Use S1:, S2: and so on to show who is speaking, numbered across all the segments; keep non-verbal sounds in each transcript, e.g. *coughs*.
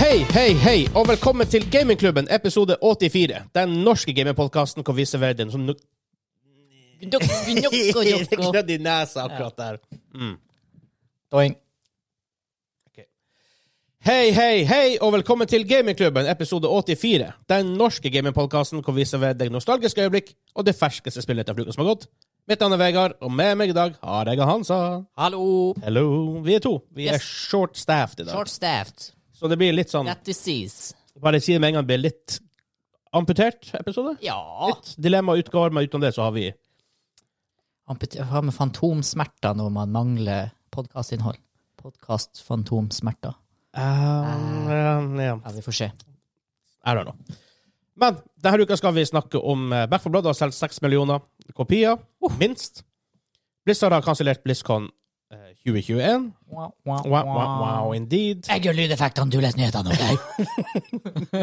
S1: Hei, hei, hei, og velkommen til Gamingklubben, episode 84. Den norske gamingpodkasten hvor vi serverer den
S2: *laughs*
S1: som nuk-
S2: Doink.
S1: Klødd i nesa akkurat der. Mm. Hei, hei, hei, og velkommen til Gamingklubben, episode 84. Den norske gamingpodkasten hvor vi serverer deg nostalgiske øyeblikk og det ferskeste spillet etter uka som har gått. Mitt navn er Vegard, og med meg i dag har jeg Hansa.
S2: Hallo.
S1: Hello. Vi er to. Vi er
S2: Yes.
S1: short-staffed i dag.
S2: Short staffed.
S1: Så det blir litt sånn
S2: That disease.
S1: Bare si det med en gang, det blir litt amputert episode.
S2: Ja.
S1: Litt dilemma utgår, men utenom det så har vi
S2: Hva med fantomsmerter når man mangler podkastinnhold? Podkast-fantomsmerter.
S1: um, ja.
S2: Ja, vi får se.
S1: I don't know. Men denne uka skal vi snakke om eh, Back 4 Blood har solgt 6 millioner kopier, minst. Blizzard har kansellert BlizzCon eh, 2021.
S2: Wow, wow,
S1: Wow, wow, wow, indeed.
S2: Jeg gjør lydeffektene, du leser nyhetene, OK?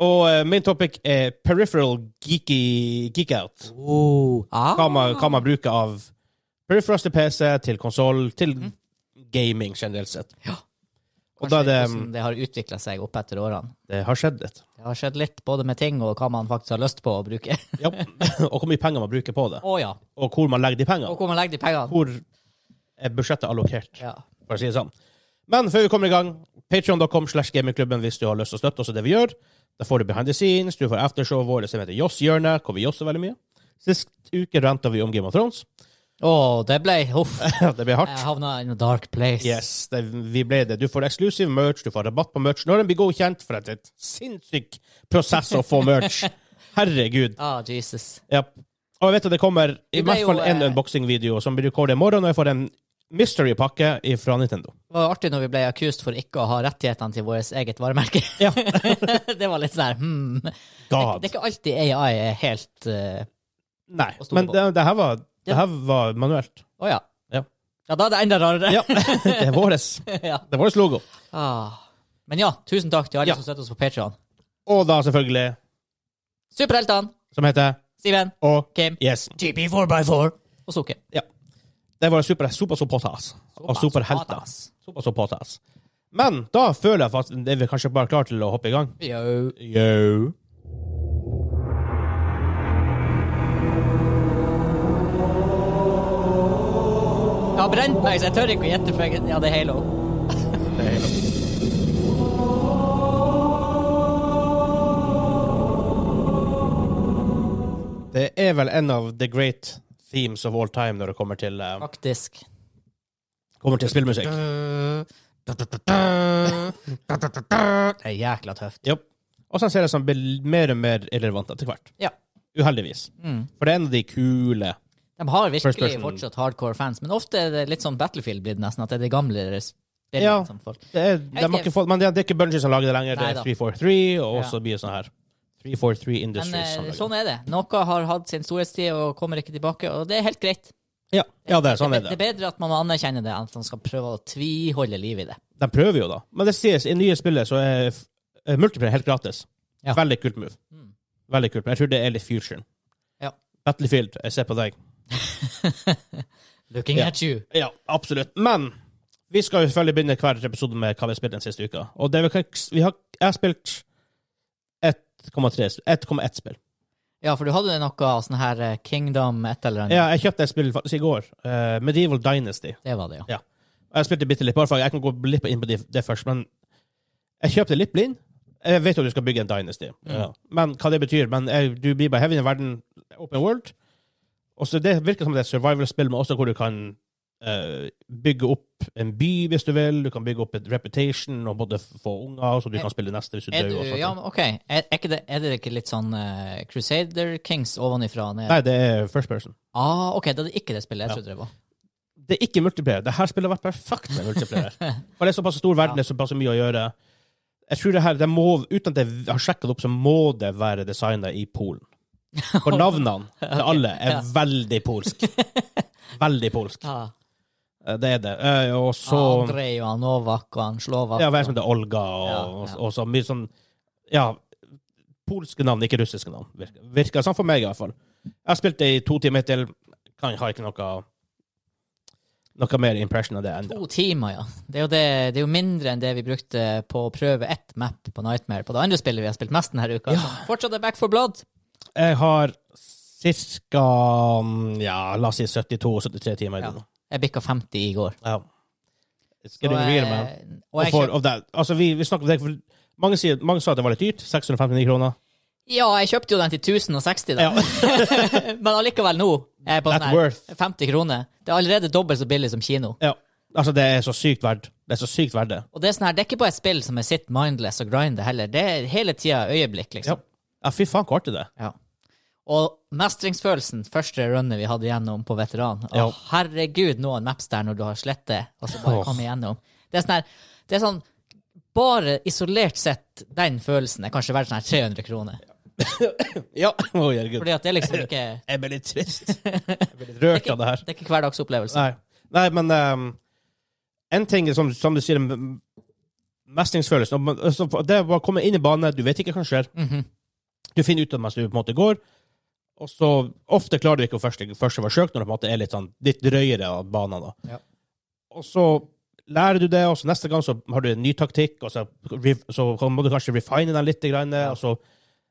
S1: Og eh, main topic er peripheral geeky geek-out.
S2: Oh. Ah.
S1: Hva, man- hva man bruker av peripherals til PC, til konsoll, til gaming generelt sett.
S2: Ja.
S1: Og da er det,
S2: Hvordan det har utvikla seg opp etter årene.
S1: det har skjedd litt.
S2: Det har skjedd litt både med ting og hva man faktisk har lyst på å bruke.
S1: Ja. *coughs* og hvor mye penger man bruker på det.
S2: *laughs* Å ja.
S1: Og hvor man legger de pengene.
S2: Og hvor man legger de pengene.
S1: Hvor er budsjettet allokert?
S2: Ja.
S1: for å si det sånn. Men før vi kommer i gang, patreon.com slash gamingklubben hvis du har lyst til å støtte oss i det vi gjør. Da får du behind the scenes, du får aftershowet vårt som heter Joss-hjørnet, hvor vi josser veldig mye. Sist uke ranta vi om Game of Thrones. *laughs*
S2: Å, det ble Huff.
S1: det ble
S2: Jeg
S1: hardt.
S2: havna in a dark place.
S1: Yes, det, vi ble det. Du får eksklusiv merch, du får rabatt på merch når den blir godkjent, for det er et sinnssyk prosess å få
S2: *laughs*
S1: merch. Herregud.
S2: Ah, Jesus.
S1: Ja. Og jeg vet at det kommer i
S2: Vi ble
S1: hvert fall
S2: jo,
S1: en
S2: eh,
S1: unboxing-video som blir recordet i morgen, og jeg får en mystery-pakke fra Nintendo.
S2: Det var jo artig når vi ble accused for ikke å ha rettighetene til vårt eget varemerke.
S1: Ja.
S2: *laughs* det var litt sånn her, hmm. Det,
S1: God.
S2: det er ikke alltid AI er helt eh,
S1: Nei,
S2: Og store
S1: men
S2: på.
S1: det, det, her var, det
S2: Ja.
S1: her var manuelt.
S2: Å ja.
S1: Ja.
S2: Ja, da er det enda rarere.
S1: Ja, *laughs* det er våres.
S2: *laughs* Ja.
S1: Det er våres logo.
S2: Ah. Men ja, tusen takk til alle
S1: Ja.
S2: som støtter oss på Patreon.
S1: Og da selvfølgelig,
S2: Superheltene
S1: som heter
S2: Steven,
S1: Og
S2: Kim,
S1: Yes.
S2: TP4x4 og Sukke.
S1: Ja. Det er våre super, super supporters. Og superhelter. Super supporters. Men da føler jeg at det er vi kanskje bare klare til å hoppe i gang.
S2: Yo.
S1: Yo.
S2: Jeg har brent meg, så jeg tør ikke å gjette. for jeg- Ja, det er Halo.
S1: Det er helt- Det er vel en av the great themes of all time når det kommer til, eh,
S2: Faktisk.
S1: kommer til
S2: *laughs*
S1: spillmusikk. Øh.
S2: Det er jækla tøft.
S1: Jopp. Og så ser jeg som blir mer og mer irrelevant etter hvert.
S2: Ja. Mm.
S1: Uheldigvis. For det er en av de kule
S2: De har
S1: First
S2: virkelig
S1: person.
S2: fortsatt hardcore fans, men ofte er det litt sånn Battlefield blitt nesten, at det er de gamle spillene
S1: Ja.
S2: som folk
S1: det er, de har
S2: ikke-
S1: ikke fått, Men det er det er ikke Bungie som lager det lenger.
S2: Neida.
S1: Det er 343, og
S2: Ja.
S1: også mye sånn her 343
S2: Men
S1: Industries. som
S2: eh,
S1: lager
S2: sånn
S1: det.
S2: er det. Noe har hatt sin storhetstid og kommer ikke tilbake, og det er helt greit.
S1: ja, ja, det er sånn
S2: det,
S1: er
S2: det er
S1: det.
S2: bedre at man anerkjenner det, enn at man skal prøve å tviholde liv i det.
S1: De prøver jo, da. Men det sies i nye spillet så er f- eh, multiplayer helt gratis.
S2: Ja.
S1: Veldig kult move.
S2: Mm.
S1: Veldig kult. Men jeg tror det er litt future.
S2: Ja.
S1: Battlefield, jeg ser på deg.
S2: Looking
S1: Ja.
S2: at you.
S1: Ja, absolutt. Men vi skal jo selvfølgelig begynne hver episode med hva vi har spilt den siste uka. Og det vi, kan, vi har, jeg har spilt 1,3 sp- 1,1 spill.
S2: Ja, for du hadde jo noe av sånn her eh, Kingdom et eller annet.
S1: Ja, jeg kjøpte et spill faktisk i går. eh, Medieval Dynasty.
S2: Det var det, ja.
S1: Jeg spilte bitte litt, bare for jeg kan gå litt inn på det, det først, men jeg kjøpte litt blind. Jeg vet jo du skal bygge en Dynasty,
S2: Mm.
S1: ja. men hva det betyr Men jeg, du blir bare hevet inn i verden, open world. Og så Det virker som det er et survival-spill, men også hvor du kan eh, bygge opp en by hvis du vil. Du kan bygge opp et reputation og både f- få unger, så du
S2: Er-
S1: kan spille neste hvis du
S2: Er,
S1: dør.
S2: sånn. du,
S1: og sånt.
S2: ja, men OK. Er, er, ikke det, er det ikke litt sånn eh, Crusader Kings ovenifra og ned?
S1: Nei, det er first person.
S2: Ah, OK, da er det ikke det spillet jeg trodde det var.
S1: Det er ikke multiplayer. Dette spillet har vært perfekt med
S2: *laughs*
S1: multiplayer. For det er såpass stor verden, det er såpass mye å gjøre. Jeg tror det her, det må, Uten at jeg har sjekket det opp, så må det være designet i Polen.
S2: *laughs*
S1: For navnene til alle er
S2: ja.
S1: veldig
S2: *laughs*
S1: polsk. Veldig polsk.
S2: Ja.
S1: Eh, Det er det. Eh, Og så
S2: Andrej og han Novak og han Slovak.
S1: Ja, hva er det som heter Olga, og,
S2: Ja, ja.
S1: og, så mye sånn Ja, polske navn, ikke russiske navn. Virker, virker sånn for meg, i hvert fall. Jeg har spilt det i to timer til. Kan, har ikke noe noe mer impression av det ennå.
S2: To timer, ja. Det er, jo det, det er jo mindre enn det vi brukte på å prøve ett map på Nightmare på det andre spillet vi har spilt mest denne uka. Så Fortsatt er Back for Blood.
S1: Jeg har ca. Ja, la oss si 72-73 timer.
S2: Ja.
S1: Ja.
S2: Jeg bikka 50 i går.
S1: Ja. It's
S2: Så,
S1: getting real,
S2: eh,
S1: man.
S2: Og
S1: Og
S2: jeg
S1: for,
S2: kjøpt,
S1: of that. Altså, vi, vi snakker om det, for mange, sier, mange sa at det var litt dyrt. 659 kroner.
S2: ja, jeg kjøpte jo den til 1060, da.
S1: Ja.
S2: *laughs* Men allikevel nå er jeg på
S1: That's
S2: sånn her
S1: worth.
S2: 50 kroner. Det er allerede dobbelt så billig som kino.
S1: Ja. Altså, det er så sykt verdt. Det er så sykt verdt det.
S2: Og det er sånn her, det er ikke bare et spill som er sitt mindless og grinder heller. Det er hele tida øyeblikk,
S1: Ja.
S2: liksom.
S1: ja, fy faen, hvor artig det er.
S2: Ja. Og mestringsfølelsen, første runnet vi hadde gjennom på veteran Å,
S1: Ja.
S2: Herregud, noen maps der når du har slettet, og så
S1: Åh.
S2: bare komme igjennom. Det er sånn her, det er sånn Bare isolert sett, den følelsen er kanskje verdt sånn her 300 kroner.
S1: Ja. *laughs* Å, herregud.
S2: Fordi at det er liksom ikke
S1: Jeg ble litt trist.
S2: *laughs*
S1: Jeg ble litt rørt av det her.
S2: Det er ikke hverdagsopplevelse.
S1: Nei, Nei men ehm, en ting er som, som du sier, m- mestringsfølelsen. og man- altså, Det er bare å komme inn i bane, du vet ikke hva som skjer.
S2: Mhm.
S1: Du finner ut av det mens du på en måte går. Og så ofte klarer du ikke å første, første forsøk når det på en måte er litt, sånn, litt drøyere av banen. Da.
S2: Ja.
S1: Og så lærer du det, og så neste gang så har du en ny taktikk, og så, re- så må du kanskje refine den litt, grann, og så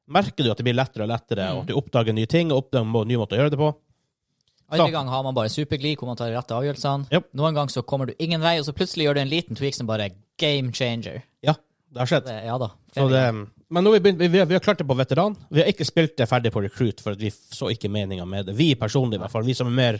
S1: merker du at det blir lettere og lettere,
S2: Mm.
S1: og at du oppdager nye ting, og oppdager må- nye måter å gjøre det på.
S2: Andre
S1: Så.
S2: gang har man bare superglid, hvor man tar de rette avgjørelsene.
S1: Japp.
S2: Noen gang så kommer du ingen vei, og så plutselig gjør du en liten tweak som bare er game changer.
S1: Ja, det har skjedd.
S2: Det, ja da.
S1: Så det, men nå har vi, begynt, vi, vi, har, vi har klart det på veteran. Vi har ikke spilt det ferdig på recruit, for at vi så ikke meninga med det. Vi personlig, i hvert fall. Vi som er mer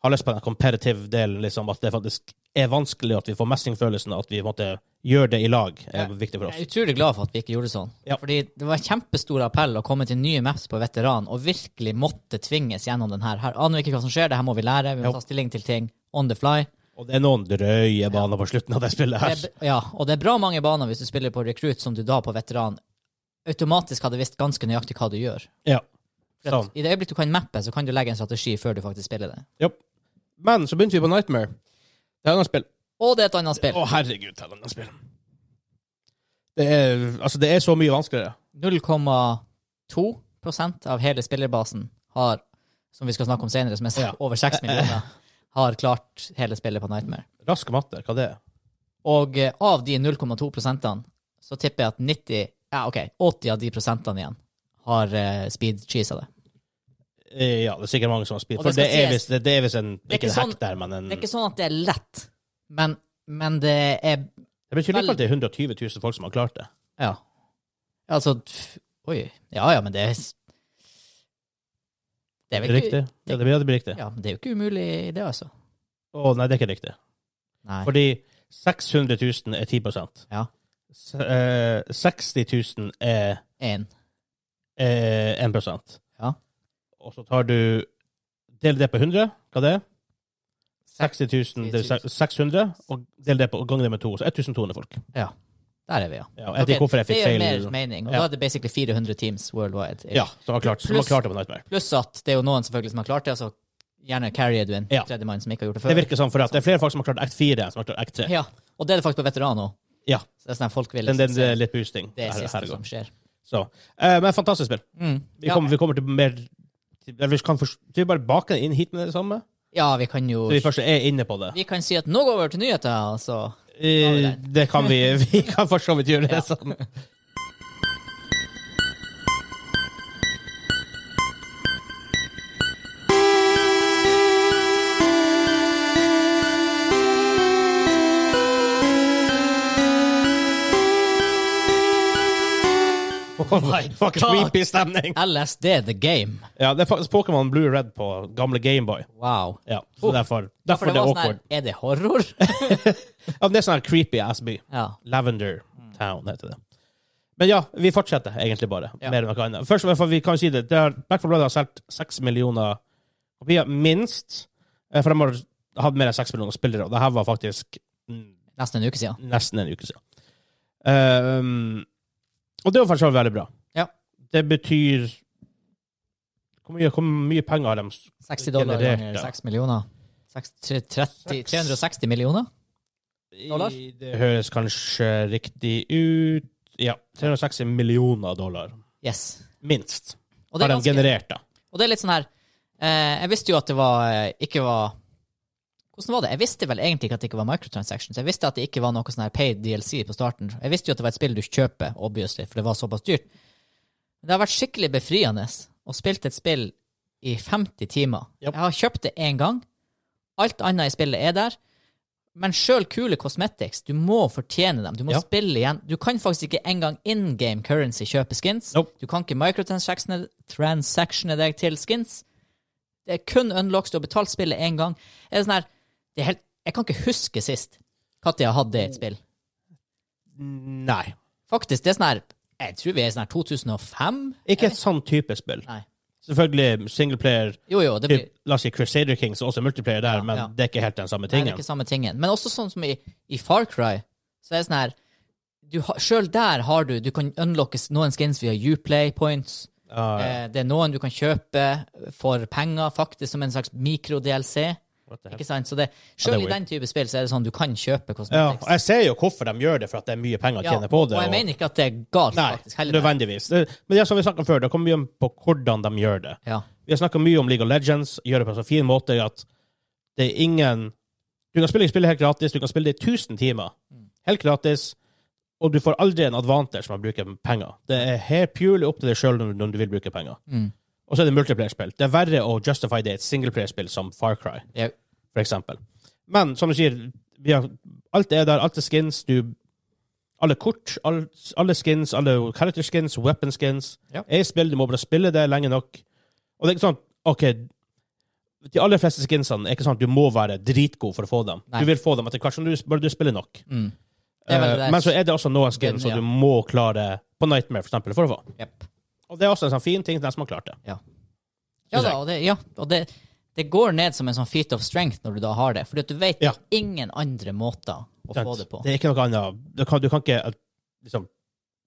S1: har lyst på den competitive delen, liksom, at det faktisk er vanskelig, at vi får mestringfølelsen, at vi måtte gjøre det i lag, er
S2: Ja.
S1: viktig for
S2: Jeg
S1: oss.
S2: er utrolig glad for at vi ikke gjorde sånn.
S1: Ja.
S2: Fordi det var en kjempestor appell å komme til nye maps på veteran og virkelig måtte tvinges gjennom den her. Her aner vi ikke hva som skjer, det her må vi lære, vi
S1: Ja.
S2: må ta stilling til ting on the fly.
S1: Og det er noen drøye baner på slutten av det spillet
S2: Det
S1: her.
S2: er, b- ja, og det er bra mange baner hvis du spiller på recruit som du da på veteran automatisk hadde visst ganske nøyaktig hva du gjør.
S1: Ja.
S2: For
S1: Sånn.
S2: at I det øyeblikk du kan mappe, så kan du legge en strategi før du faktisk spiller det.
S1: Jo. Men så begynte vi på Nightmare. Det er et annet spill.
S2: Og det er et annet spill.
S1: Å, herregud, det er et annet spill. Det er, altså, det er så mye vanskeligere.
S2: 0,2 av hele spillerbasen har, som vi skal snakke om senere, som er
S1: Ja.
S2: over
S1: *laughs*
S2: 6 millioner, har klart hele spillet på Nightmare.
S1: Rask matte, hva det er.
S2: Og eh, av de 0,2 prosentene, så tipper jeg at 90, ja ok, 80 av de prosentene igjen har uh, speed-cheesa det.
S1: Mm. Eh, Ja, det er sikkert mange som har spilt.
S2: Og
S1: For
S2: det skal
S1: det er
S2: sies-
S1: visst det, det er visst en
S2: er
S1: Ikke
S2: ikke
S1: en hack
S2: sånn-
S1: der, men en
S2: Det er ikke sånn at det er lett, men, men det er,
S1: Det betyr likevel at det er 120 000 folk som har klart det.
S2: ja, altså, pff, oi, ja ja, men det er, det
S1: Er
S2: er vel
S1: det
S2: ikke,
S1: riktig? Ja, det blir- det blir riktig.
S2: ja, men det er jo ikke umulig det altså.
S1: Å, nei, det er ikke riktig.
S2: Nei,
S1: Fordi 600 000 er 10
S2: Ja.
S1: S- eh, 60 000 er,
S2: en,
S1: er 1
S2: Ja.
S1: Og så tar du Del det på 100, hva det er? 60 000 det er se- 600, og del det på, og gang det med to, så 1200 folk.
S2: der er vi ja.
S1: Ja, jeg vet
S2: Ok,
S1: ikke hvorfor jeg fikk feil.
S2: Det gjør mer mening, og
S1: Ja.
S2: da er det basically 400 teams worldwide.
S1: Ja, som har klart, som har
S2: Pluss-
S1: klart det på Nightmare.
S2: Pluss at det er jo noen selvfølgelig som har klart det, altså gjerne carrier du en
S1: Ja.
S2: tredjemann som ikke har gjort det
S1: Det
S2: før.
S1: virker sånn, for at det er flere folk som har klart Act 4 enn som har klart Act 3.
S2: Ja, og det er det faktisk på veteran òg.
S1: Ja.
S2: Så det er sånn at folk vil
S1: Den,
S2: liksom
S1: den,
S2: se
S1: eh, litt boosting.
S2: det
S1: Her-
S2: siste
S1: herregud.
S2: som skjer.
S1: Så. Eh, men fantastisk spill.
S2: Mm.
S1: Vi,
S2: Ja.
S1: kommer, vi kommer til mer til- eller Vi kan forst- vi bare bake det inn hit med det samme.
S2: ja, vi kan jo
S1: Så vi først er inne på det.
S2: Vi kan si at nå går vi over til nyheter, altså. vi
S1: Eh,
S2: der.
S1: det kan vi
S2: *laughs*
S1: Vi kan for så vidt gjøre det sånn. Oh my fuck,
S2: God.
S1: creepy stemning.
S2: LSD The Game.
S1: Ja, det er faktisk Pokémon Blue Red på gamle Gameboy.
S2: Wow.
S1: Ja, så
S2: Oh.
S1: derfor,
S2: For
S1: derfor
S2: det
S1: det er
S2: var sånn her,
S1: awkward.
S2: er det horror? *laughs*
S1: Ja, men det er sånn her creepy ass by.
S2: ja.
S1: Lavender Town heter det. Men ja, vi fortsetter egentlig bare.
S2: Ja.
S1: Mer enn noe annet. Først, og fremst, vi kan jo si det, det har, Back 4 Blood har solgt seks millioner kopier, minst. Eh, For de har hatt mer enn seks millioner spillere, og det her var faktisk mm,
S2: Nesten en uke siden.
S1: nesten en uke siden. Ehm, og det var faktisk veldig bra.
S2: Ja.
S1: Det betyr Hvor mye, hvor mye penger har de?
S2: 60 dollar
S1: Generert,
S2: ganger
S1: ja.
S2: 6 millioner. Seks- tre- tretti- 360 millioner? Dollar?
S1: I- Det høres kanskje riktig ut. Ja, 360 millioner dollar.
S2: Yes.
S1: Minst.
S2: Og det
S1: har
S2: er
S1: de
S2: ganske
S1: generert, da.
S2: Og det er litt sånn her eh, Jeg visste jo at det var, eh, ikke var Hvordan var det? Jeg visste vel egentlig ikke at det ikke var microtransactions. Jeg visste at det ikke var noe sånn her paid DLC på starten. Jeg visste jo at det var et spill du kjøper, obviously, for det var såpass dyrt. Men det har vært skikkelig befriende å spille et spill i 50 timer.
S1: Japp.
S2: Jeg har kjøpt det én gang. Alt annet i spillet er der. Men sjøl kule cosmetics, du må fortjene dem. Du må
S1: Ja.
S2: spille igjen. Du kan faktisk ikke engang in game currency kjøpe skins.
S1: Nope.
S2: Du kan ikke microtransactione transactione deg til skins. Det er kun unlocks. Du har betalt spillet én gang. Det er sånn her, det er helt, jeg kan ikke huske sist når jeg har hatt det
S1: Mm.
S2: i et spill.
S1: Nei.
S2: Faktisk, det er sånn her Jeg tror vi er i sånn her 2005.
S1: Ikke et sånn type spill.
S2: Nei.
S1: Selvfølgelig singleplayer,
S2: Jo, jo, det blir
S1: typ, la oss si Crusader Kings, også multiplayer der, men
S2: ja.
S1: det er ikke helt den samme
S2: Nei, det
S1: tingen.
S2: er ikke samme tingen. Men også sånn som i, i Far Cry, så er det sånn her du har, Selv der har du Du kan unlocke s- noen skins via Uplay points.
S1: Ah,
S2: Eh, det er noen du kan kjøpe for penger, faktisk som en slags mikro-DLC.
S1: what the hell.
S2: Ikke sant? Så det,
S1: Ja, det
S2: selv
S1: er
S2: i den type spill så er det sånn du kan kjøpe
S1: Ja, og
S2: cosmetics.
S1: jeg ser jo hvorfor de gjør det, for at det er mye penger å tjene på
S2: og
S1: det.
S2: jeg
S1: og-
S2: mener ikke at det er galt, faktisk.
S1: Nei,
S2: Heller.
S1: nødvendigvis. Det- Men det er som vi snakket om før, det kommer mye an på hvordan de gjør det.
S2: Ja.
S1: Vi har snakket mye om League of Legends, gjør det på en så fin måte at det er ingen Du kan spille spillet helt gratis, du kan spille det i 1000 timer. Helt gratis. Og du får aldri en advantage med å bruke penger. Det er helt purely opp til deg sjøl om du vil bruke penger.
S2: Mm.
S1: Og så er det multiplayer-spill. Det er verre å justify det i et singleplayer-spill som Far Cry,
S2: Ja.
S1: for eksempel. Men som du sier, vi har, alt er der. Alt er skins. Du Alle kort, all, alle skins, alle character skins, weapon skins
S2: Ja.
S1: er i spill. Du må bare spille det lenge nok. Og det er ikke sånn OK, de aller fleste skinsene er ikke sånn at du må være dritgod for å få dem.
S2: Nei.
S1: Du vil få dem etter hvert, så du, bare du spiller nok.
S2: Mm. Det er vel
S1: Eh,
S2: det der-
S1: Men så er det også noen skins
S2: Den,
S1: som
S2: ja.
S1: du må klare på Nightmare, for eksempel, for å få.
S2: Jep.
S1: Og det er også en sånn fin ting til dem som har klart det.
S2: Ja,
S1: Synes jeg.
S2: da, og, det, ja, og det, det går ned som en sånn feat of strength når du da har det. Fordi at du vet
S1: Ja.
S2: ingen andre måter å
S1: Sant.
S2: få det på.
S1: Det er ikke noe annet. Du kan, du kan ikke eh, liksom,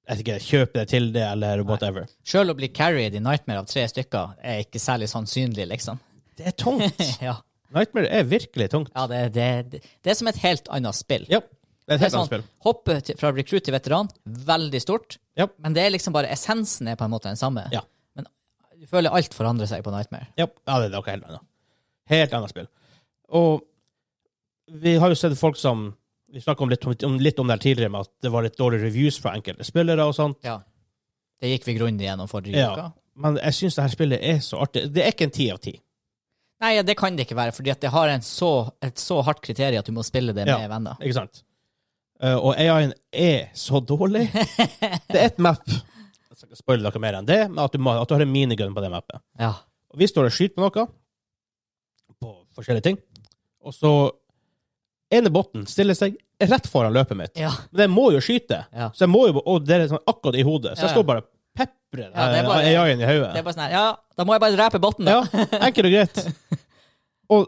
S1: jeg vet ikke, kjøpe det til det, eller whatever.
S2: Sjøl å bli carried i Nightmare av tre stykker er ikke særlig sannsynlig,
S1: *laughs*
S2: liksom.
S1: Det er tungt.
S2: ja,
S1: *laughs* Nightmare er virkelig tungt.
S2: ja det, det, det, det er som et helt annet spill.
S1: Ja. Det er et
S2: Det er
S1: helt annet
S2: sånn,
S1: spill.
S2: hoppe til, fra recruit til veteran, veldig stort.
S1: Ja.
S2: Men det er liksom bare essensen er på en måte den samme.
S1: Ja.
S2: Men du føler alt forandrer seg på Nightmare.
S1: Ja, ja det er noe helt annet. Helt annet spill. Og vi har jo sett folk som Vi snakket om litt om, om, litt om det her tidligere, med at det var litt dårlige reviews fra enkelte spillere og sånt.
S2: Ja. Det gikk vi grundig gjennom forrige
S1: Ja.
S2: uke.
S1: Men jeg syns det her spillet er så artig. Det er ikke en ti av ti.
S2: Nei, ja, det kan det ikke være, fordi at det har en så, et så hardt kriterium at du må spille det
S1: Ja.
S2: med venner.
S1: Ikke sant? Eh, og AI-en er så
S2: *laughs*
S1: dårlig. Det er et map. Jeg skal ikke spoile noe mer enn det, men at du, må, at du har en minigun på det mappet.
S2: Ja.
S1: Og vi står og skyter på noe, på forskjellige ting, og så ene botten stiller seg rett foran løpet mitt.
S2: Ja.
S1: Men jeg må jo skyte,
S2: Ja.
S1: så jeg må jo, og det er sånn akkurat i hodet, så
S2: Ja, ja.
S1: jeg står bare og peprer
S2: Ja, det er bare-
S1: eh, AI-en i
S2: Det er
S1: hodet.
S2: bare sånn her, ja, da må jeg bare drepe botten, da.
S1: Ja, enkelt og greit.
S2: *laughs*
S1: Og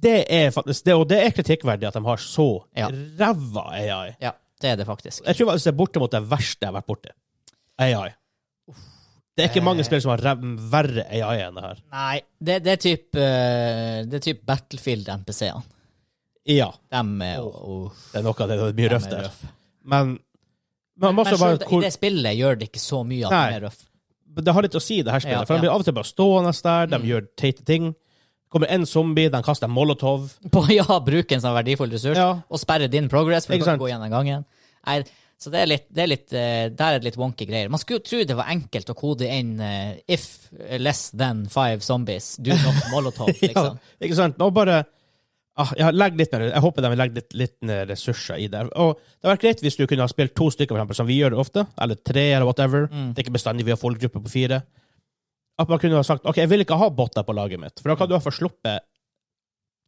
S1: det er faktisk det, og det er kritikkverdig at de har så
S2: Ja.
S1: ræva AI.
S2: Ja, det er det faktisk.
S1: Jeg tror faktisk det er bortimot det verste jeg har vært borti. AI. Det er ikke mange
S2: Eh.
S1: spillere som har ræv- verre AI enn det her.
S2: Nei, det, det er typ, eh, det er typ Battlefield-NPC-ene.
S1: Ja.
S2: Dem er jo uff,
S1: Det er noe av det, det er mye
S2: dem
S1: røft
S2: er
S1: der.
S2: røff.
S1: Men man må
S2: Men
S1: også
S2: selv
S1: bare
S2: i
S1: hvor,
S2: det spillet gjør det ikke så mye at de
S1: Nei.
S2: er røff.
S1: Det
S2: *laughs*
S1: Mm. har litt å si, det her spillet.
S2: Ja,
S1: for
S2: ja.
S1: de blir av og til bare stående der, de gjør teite ting. Kommer en zombie, de kaster en molotov.
S2: På ja, bruke en sånn verdifull ressurs,
S1: Ja. *laughs*
S2: og sperre din progress for
S1: Ikke
S2: å kan
S1: sant?
S2: gå igjen en gang igjen. Nei, så det er litt, det er litt, eh, der er det litt wonky greier. Man skulle jo tro det var enkelt å kode inn eh, if less than five zombies,
S1: *laughs*
S2: do not molotov, liksom.
S1: Ja, ikke sant? Og bare ah, ja, legg litt mer, Jeg håper de vil legge litt, litt mer ressurser i det. Og det hadde vært greit hvis du kunne ha spilt to stykker, for eksempel, som vi gjør ofte. Eller tre, eller whatever.
S2: Mm.
S1: Det er ikke bestandig vi har folkegruppe på fire. At man kunne ha sagt OK, jeg vil ikke ha botter på laget mitt, for da kan du i hvert fall sluppe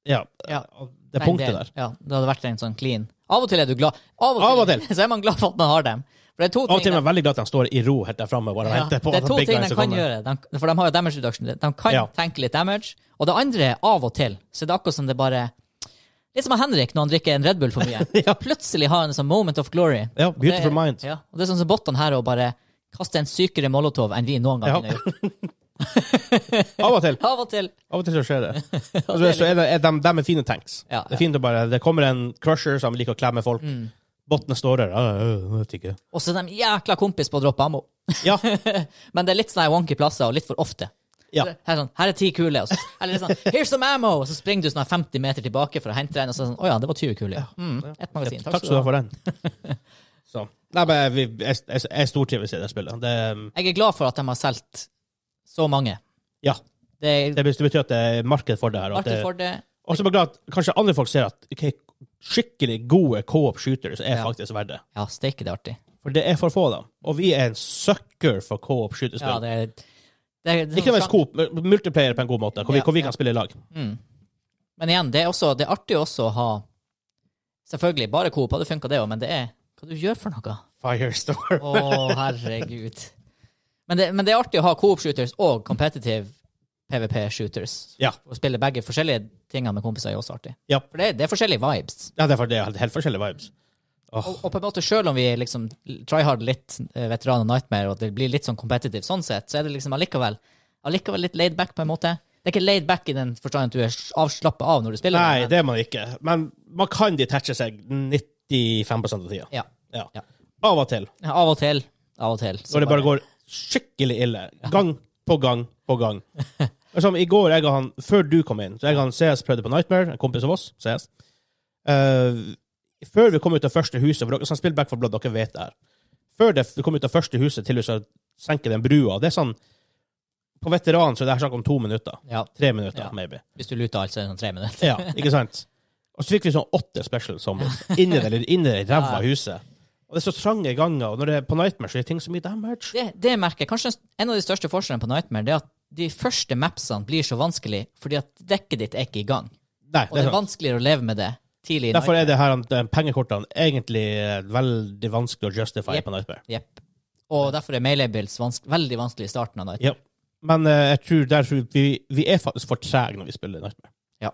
S1: ja,
S2: Ja.
S1: det
S2: Nei,
S1: punktet der.
S2: Ja, det hadde vært en sånn clean. Av og til er du glad. Av og til,
S1: Av og til.
S2: *laughs* så er man glad for at man har dem. For det er to
S1: Av og til
S2: ting
S1: er jeg veldig glad at de står i ro helt der framme.
S2: ja, det er to ting de kan gjøre, de, for de har jo damage reduction. De kan
S1: Ja.
S2: tenke litt damage. Og det andre er av og til, så det er akkurat som det bare Litt som Henrik når han drikker en Red Bull for mye.
S1: *laughs* Ja.
S2: Plutselig har han en sånn moment of glory.
S1: Ja,
S2: Og det er-
S1: beautiful mind.
S2: Ja, og det er sånn som bottene her og bare kaster en sykere molotov enn vi noen gang
S1: Ja.
S2: kunne gjort.
S1: Av og til.
S2: Av og til.
S1: Av og til så
S2: *laughs*
S1: skjer det. Og så er, så er, det, er de, de er fine tanks.
S2: Ja, Mm.
S1: Det er fint å bare Det kommer en crusher som liker å klemme folk. Bottene står der. «Øh, øh, jeg vet ikke.
S2: Og så er de jækla kompis på å droppe ammo. *laughs*
S1: Ja,
S2: Men det er litt sånne wonky plasser, og litt for ofte.
S1: Ja.
S2: Her, er sånn, her er ti kuler. og så- Eller sånn, here's some ammo! Og så springer du sånn 50 meter tilbake for å hente en, og så er det sånn, å ja, det var 20 kuler. Ja. Mm, ett magasin.
S1: Takk skal du ha for den.
S2: *laughs*
S1: Så. Nei, men vi, jeg, jeg, jeg stortrives i det spillet. Det, um,
S2: Jeg er glad for at de har solgt så mange.
S1: ja,
S2: Det er
S1: det betyr at det er marked for det her. Og
S2: artig
S1: så
S2: for det.
S1: er jeg glad at kanskje andre folk ser at ok, skikkelig gode co-op shooters er
S2: Ja.
S1: faktisk verdt det.
S2: Ja, steike, det er artig.
S1: For det er for få av dem. Og vi er en sucker for co-op skytespill.
S2: Ja, det er, det er, det er
S1: Ikke
S2: sånn-
S1: nødvendigvis coop, men multiplayer på en god måte, hvor vi,
S2: Ja,
S1: hvor vi
S2: ja.
S1: kan spille i lag.
S2: Mm. Men igjen, det er, også, det er artig også å ha Selvfølgelig, bare Coop hadde funka, det òg, men det er hva du gjør for noe.
S1: Firestorm.
S2: Å, herregud. Men det, men det er artig å ha Coop-shooters og competitive PVP-shooters.
S1: Ja.
S2: Å spille begge forskjellige tingene med kompiser er også artig.
S1: Ja.
S2: For det, er- det er forskjellige vibes.
S1: Ja, det er for det er helt, helt forskjellige vibes. Åh,
S2: Og, og på en måte, sjøl om vi er liksom try hard litt eh, veteran og nightmare, og det blir litt sånn competitive sånn sett, så er det liksom allikevel, allikevel litt laid back på en måte. Det er ikke laid back i den forstand at du er avslappa av når du spiller.
S1: Nei,
S2: men-
S1: det er man ikke. Men man kan detache seg 95 av tida.
S2: Ja.
S1: Ja.
S2: Ja.
S1: Av og til.
S2: Ja, Av og til. Av og til. Så
S1: Når det bare går skikkelig ille. Gang på gang på
S2: *laughs*
S1: gang. Og Som i går, jeg og han, før du kom inn, så jeg og han CS prøvde på Nightmare, en kompis av oss, CS. Eh, før vi kom ut av første huset, for dere som spiller Back for Blood, dere vet det her. Før det, vi kom ut av første huset til vi skal senke den brua, det er sånn På veteran så er det her snakk om to minutter.
S2: Ja,
S1: Tre minutter,
S2: Ja.
S1: maybe.
S2: hvis du luter alt, så er det sånn tre minutter. *laughs*
S1: Ja, ikke sant? Og så fikk vi sånn åtte special zombies inni det inni det ræva huset. Og det er så trange ganger, og når det er på Nightmare, så er det ting så mye damage.
S2: Det, det merker jeg. Kanskje en av de største forskjellene på Nightmare det er at de første mapsene blir så vanskelig fordi at dekket ditt er ikke i gang.
S1: Nei,
S2: Og
S1: det
S2: det
S1: er sånn-
S2: er
S1: sant.
S2: vanskeligere å leve med det tidlig i
S1: Derfor er det her de pengekortene egentlig eh, veldig vanskelig å justify
S2: Yep.
S1: på Nightmare.
S2: Nightmare. Jepp. Og derfor er Maylables vanske, veldig vanskelig i starten av Nightmare.
S1: Ja. Men eh, jeg tror der tror vi, vi er faktisk for trege når vi spiller Nightmare.
S2: Ja.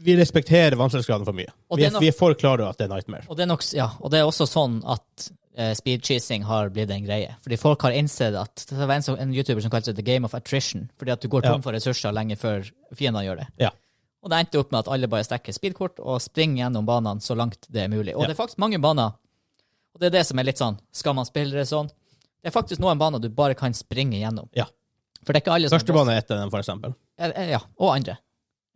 S1: Vi respekterer vanskelighetsgraden for mye.
S2: Og
S1: Vi
S2: det
S1: er,
S2: er no-
S1: vi er for klare over at det er Nightmare.
S2: Og det, er nok, ja, og det er også sånn at eh, speed cheesing har blitt en greie. Fordi folk har innsett at Det var en, som- en YouTuber som kalte det the game of attrition. Fordi at du går
S1: Ja.
S2: tom for ressurser lenge før fiendene gjør det.
S1: Ja.
S2: Og det endte opp med at alle bare stikker speedkort og springer gjennom banene så langt det er mulig. Og
S1: Ja.
S2: det er faktisk mange baner, og det er det som er litt sånn Skal man spille det sånn? Det er faktisk noen baner du bare kan springe gjennom.
S1: Ja.
S2: For det er ikke alle som
S1: Første bane er etter den, for eksempel.
S2: Eh, eh, Ja, og andre.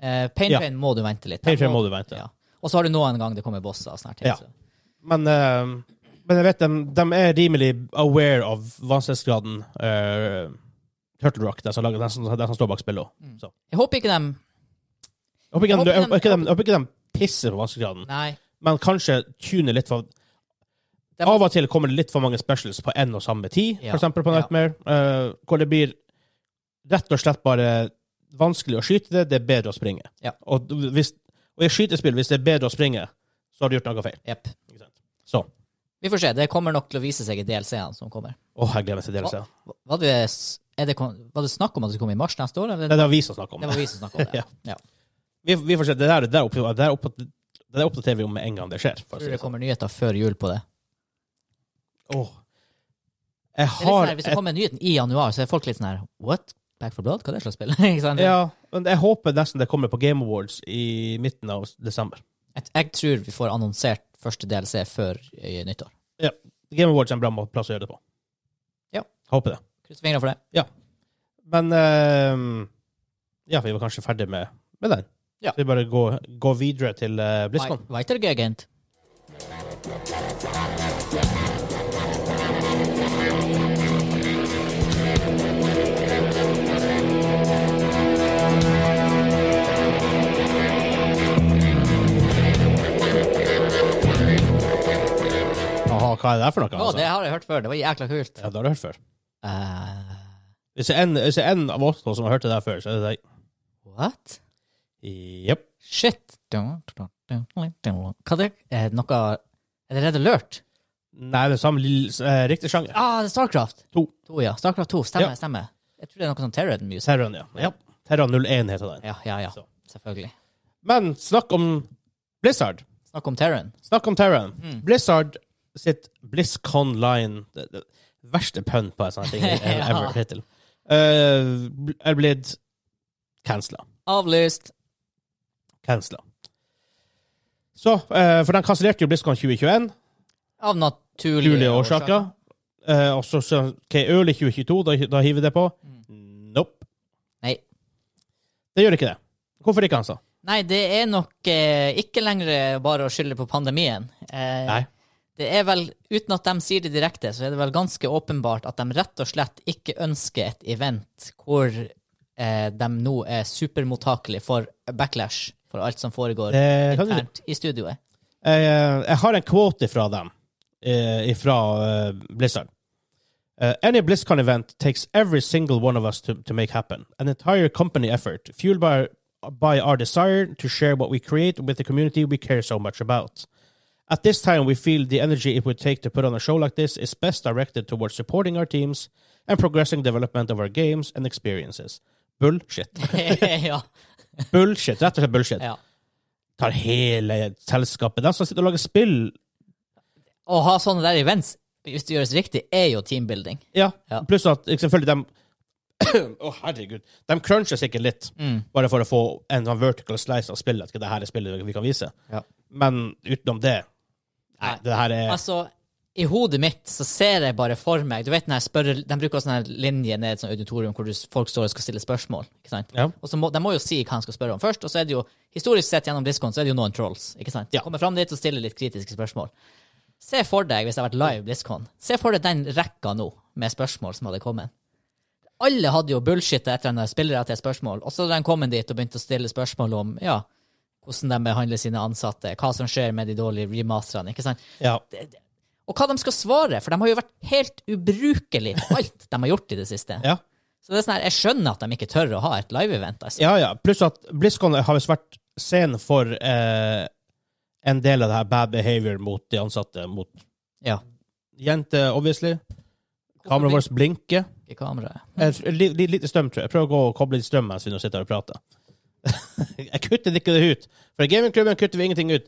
S2: Eh, Pain
S1: Ja.
S2: Train må du vente litt.
S1: Pain Train må du vente.
S2: Ja. Og så har du noen gang det kommer bosser og sånne her ting.
S1: Ja.
S2: så-
S1: Men, eh, men jeg vet de, de er rimelig aware av vanskelighetsgraden eh, Turtle Rock, de som, lager, de som, de som står bak spillet også. Så.
S2: Jeg håper ikke dem
S1: Jeg håper ikke de-
S2: Mm. Jeg
S1: jeg
S2: håper de-
S1: håper ikke de- jeg håper ikke de pisser på vanskelighetsgraden,
S2: Nei.
S1: men kanskje tuner litt for
S2: De-
S1: Av og til kommer det litt for mange specials på én og samme tid,
S2: Ja.
S1: for eksempel på
S2: Ja.
S1: Nightmare, eh, hvor det blir rett og slett bare vanskelig å skyte det, det er bedre å springe.
S2: Ja.
S1: Og, hvis, og i skytespill, hvis det er bedre å springe, så har du gjort noe feil.
S2: Jepp.
S1: Ikke sant? Så.
S2: Vi får se. Det kommer nok til å vise seg i DLC-ene som kommer.
S1: Å, jeg gleder meg til DLC.
S2: Var det, s- er det, kon- var det snakk om at det skulle komme i mars neste år? Eller?
S1: Det er det vi som snakker om.
S2: Det var vi som snakka om det.
S1: *laughs* Ja.
S2: ja.
S1: Vi, vi får se. Det der, det, der opp, det, der opp, det der oppdaterer vi om med en gang det skjer. For å
S2: Tror
S1: si det
S2: du det
S1: sånn.
S2: kommer nyheter før jul på det?
S1: Åh. Jeg
S2: det er litt sånn
S1: har
S2: her, hvis det
S1: et,
S2: kommer nyheten i januar, så er folk litt sånn her What? Back for blood? Hva er det slags spill? *laughs* Ikke sant?
S1: ja, men jeg håper nesten det kommer på Game Awards i midten av desember.
S2: Jeg, jeg tror vi får annonsert første DLC før eh, nyttår.
S1: Game Awards er en bra må- plass å gjøre det på.
S2: Ja.
S1: Håper det.
S2: Kryss fingrene for det.
S1: Men ehm, Ja, vi var kanskje ferdig med, med den.
S2: Ja.
S1: Så vi bare går, går videre til uh, BlizzCon.
S2: Wei- Weitergegend.
S1: Aha, hva er det der for noe? altså?
S2: Å, det har jeg hørt før. Det var jækla kult.
S1: Ja, det har du hørt før.
S2: Eh,
S1: Hvis det er en, hvis det er en av oss som har hørt det der før, så er det deg.
S2: what?
S1: Jepp.
S2: Shit. Hva det? Er det noe Er det Red Alert?
S1: Nei, det er samme lille- eh, riktig sjanger.
S2: Ah, det er Starcraft.
S1: To.
S2: To, ja. Starcraft 2. Stemmer,
S1: Ja.
S2: stemmer. Jeg tror det er noe sånn Terran Music.
S1: Terran, ja. ja. Terran 01 heter den.
S2: Ja, ja, ja.
S1: Så.
S2: Selvfølgelig.
S1: Men snakk om Blizzard.
S2: Snakk om Terran.
S1: Snakk om Terran.
S2: Mm.
S1: Blizzard sitt BlizzCon Line det, det, Verste pønn på en sånn
S2: *laughs*
S1: ting jeg
S2: Ja.
S1: ever hittil. Eh, bl- er blitt cancela.
S2: Avlyst.
S1: Cancela. Så, eh, for den kansellerte jo BlizzCon 2021,
S2: Av naturlige,
S1: naturlige årsaker.
S2: Mm.
S1: Eh, og så, så ok, early 2022, da, da hiver vi det på. Nope. Det gjør ikke det. Hvorfor ikke, altså?
S2: Nei, det er nok eh, ikke lenger bare å skylde på pandemien. Eh,
S1: Nei.
S2: Det er vel, uten at de sier det direkte, så er det vel ganske åpenbart at de rett og slett ikke ønsker et event hvor eh, de nå er supermottakelige for backlash for alt som foregår
S1: Det kan du si.
S2: internt i studioet. *laughs*
S1: Jeg, Eh, jeg har en quote fra dem, eh, fra eh, Blizzard. Eh, any BlizzCon event takes every single one of us to, to make happen. An entire company effort, fueled by, by our desire to share what we create with the community we care so much about. At this time, we feel the energy it would take to put on a show like this is best directed towards supporting our teams and progressing development of our games and experiences. Bullshit. *laughs*
S2: ja,
S1: Bullshit. Rett og slett bullshit.
S2: ja.
S1: Tar hele selskapet. De som sitter og lager spill,
S2: Å ha sånne der events, hvis det gjøres riktig, er jo teambuilding.
S1: Ja.
S2: Ja.
S1: Pluss at ikke selvfølgelig de *clears throat* Å, herregud. De cruncher sikkert litt,
S2: Mm.
S1: bare for å få en sånn vertical slice av spillet. At det her er spillet vi kan vise.
S2: Ja.
S1: Men utenom det Nei,
S2: Nei.
S1: det her er
S2: Altså, i hodet mitt så ser jeg bare for meg Du vet den her spørre... De bruker også sånn her linje ned i et sånt auditorium hvor du, folk står og skal stille spørsmål. ikke sant?
S1: Ja.
S2: Og så må, De må jo si hva de skal spørre om først. Og så er det jo, historisk sett gjennom Blizzcon, så er det jo noen trolls. ikke sant?
S1: Ja.
S2: Kommer fram dit og stiller litt kritiske spørsmål. Se for deg, hvis det har vært live BlizzCon, se for deg den rekka nå med spørsmål som hadde kommet. Alle hadde jo bullshitta etter den der spillere til spørsmål, og så hadde de kommet dit og begynt å stille spørsmål om ja, hvordan de behandler sine ansatte, hva som skjer med de dårlige remasterne. ikke sant?
S1: Ja.
S2: Og hva de skal svare, for de har jo vært helt ubrukelige på alt de har gjort i det siste.
S1: Ja,
S2: Så det er sånn her, jeg skjønner at de ikke tør å ha et live-event. Altså.
S1: ja. ja. Pluss at BlizzCon har visst vært sen for eh, en del av det her bad behavior mot de ansatte. Mot
S2: Ja.
S1: jenter, obviously. Kameraet vårt blinker.
S2: I kameraet.
S1: Eh, li- li- Lite strøm, tror jeg. Jeg prøver å gå og koble litt strøm mens vi nå sitter her og prater. *laughs* jeg kutter ikke det ut. For i gamingklubben kutter vi ingenting ut.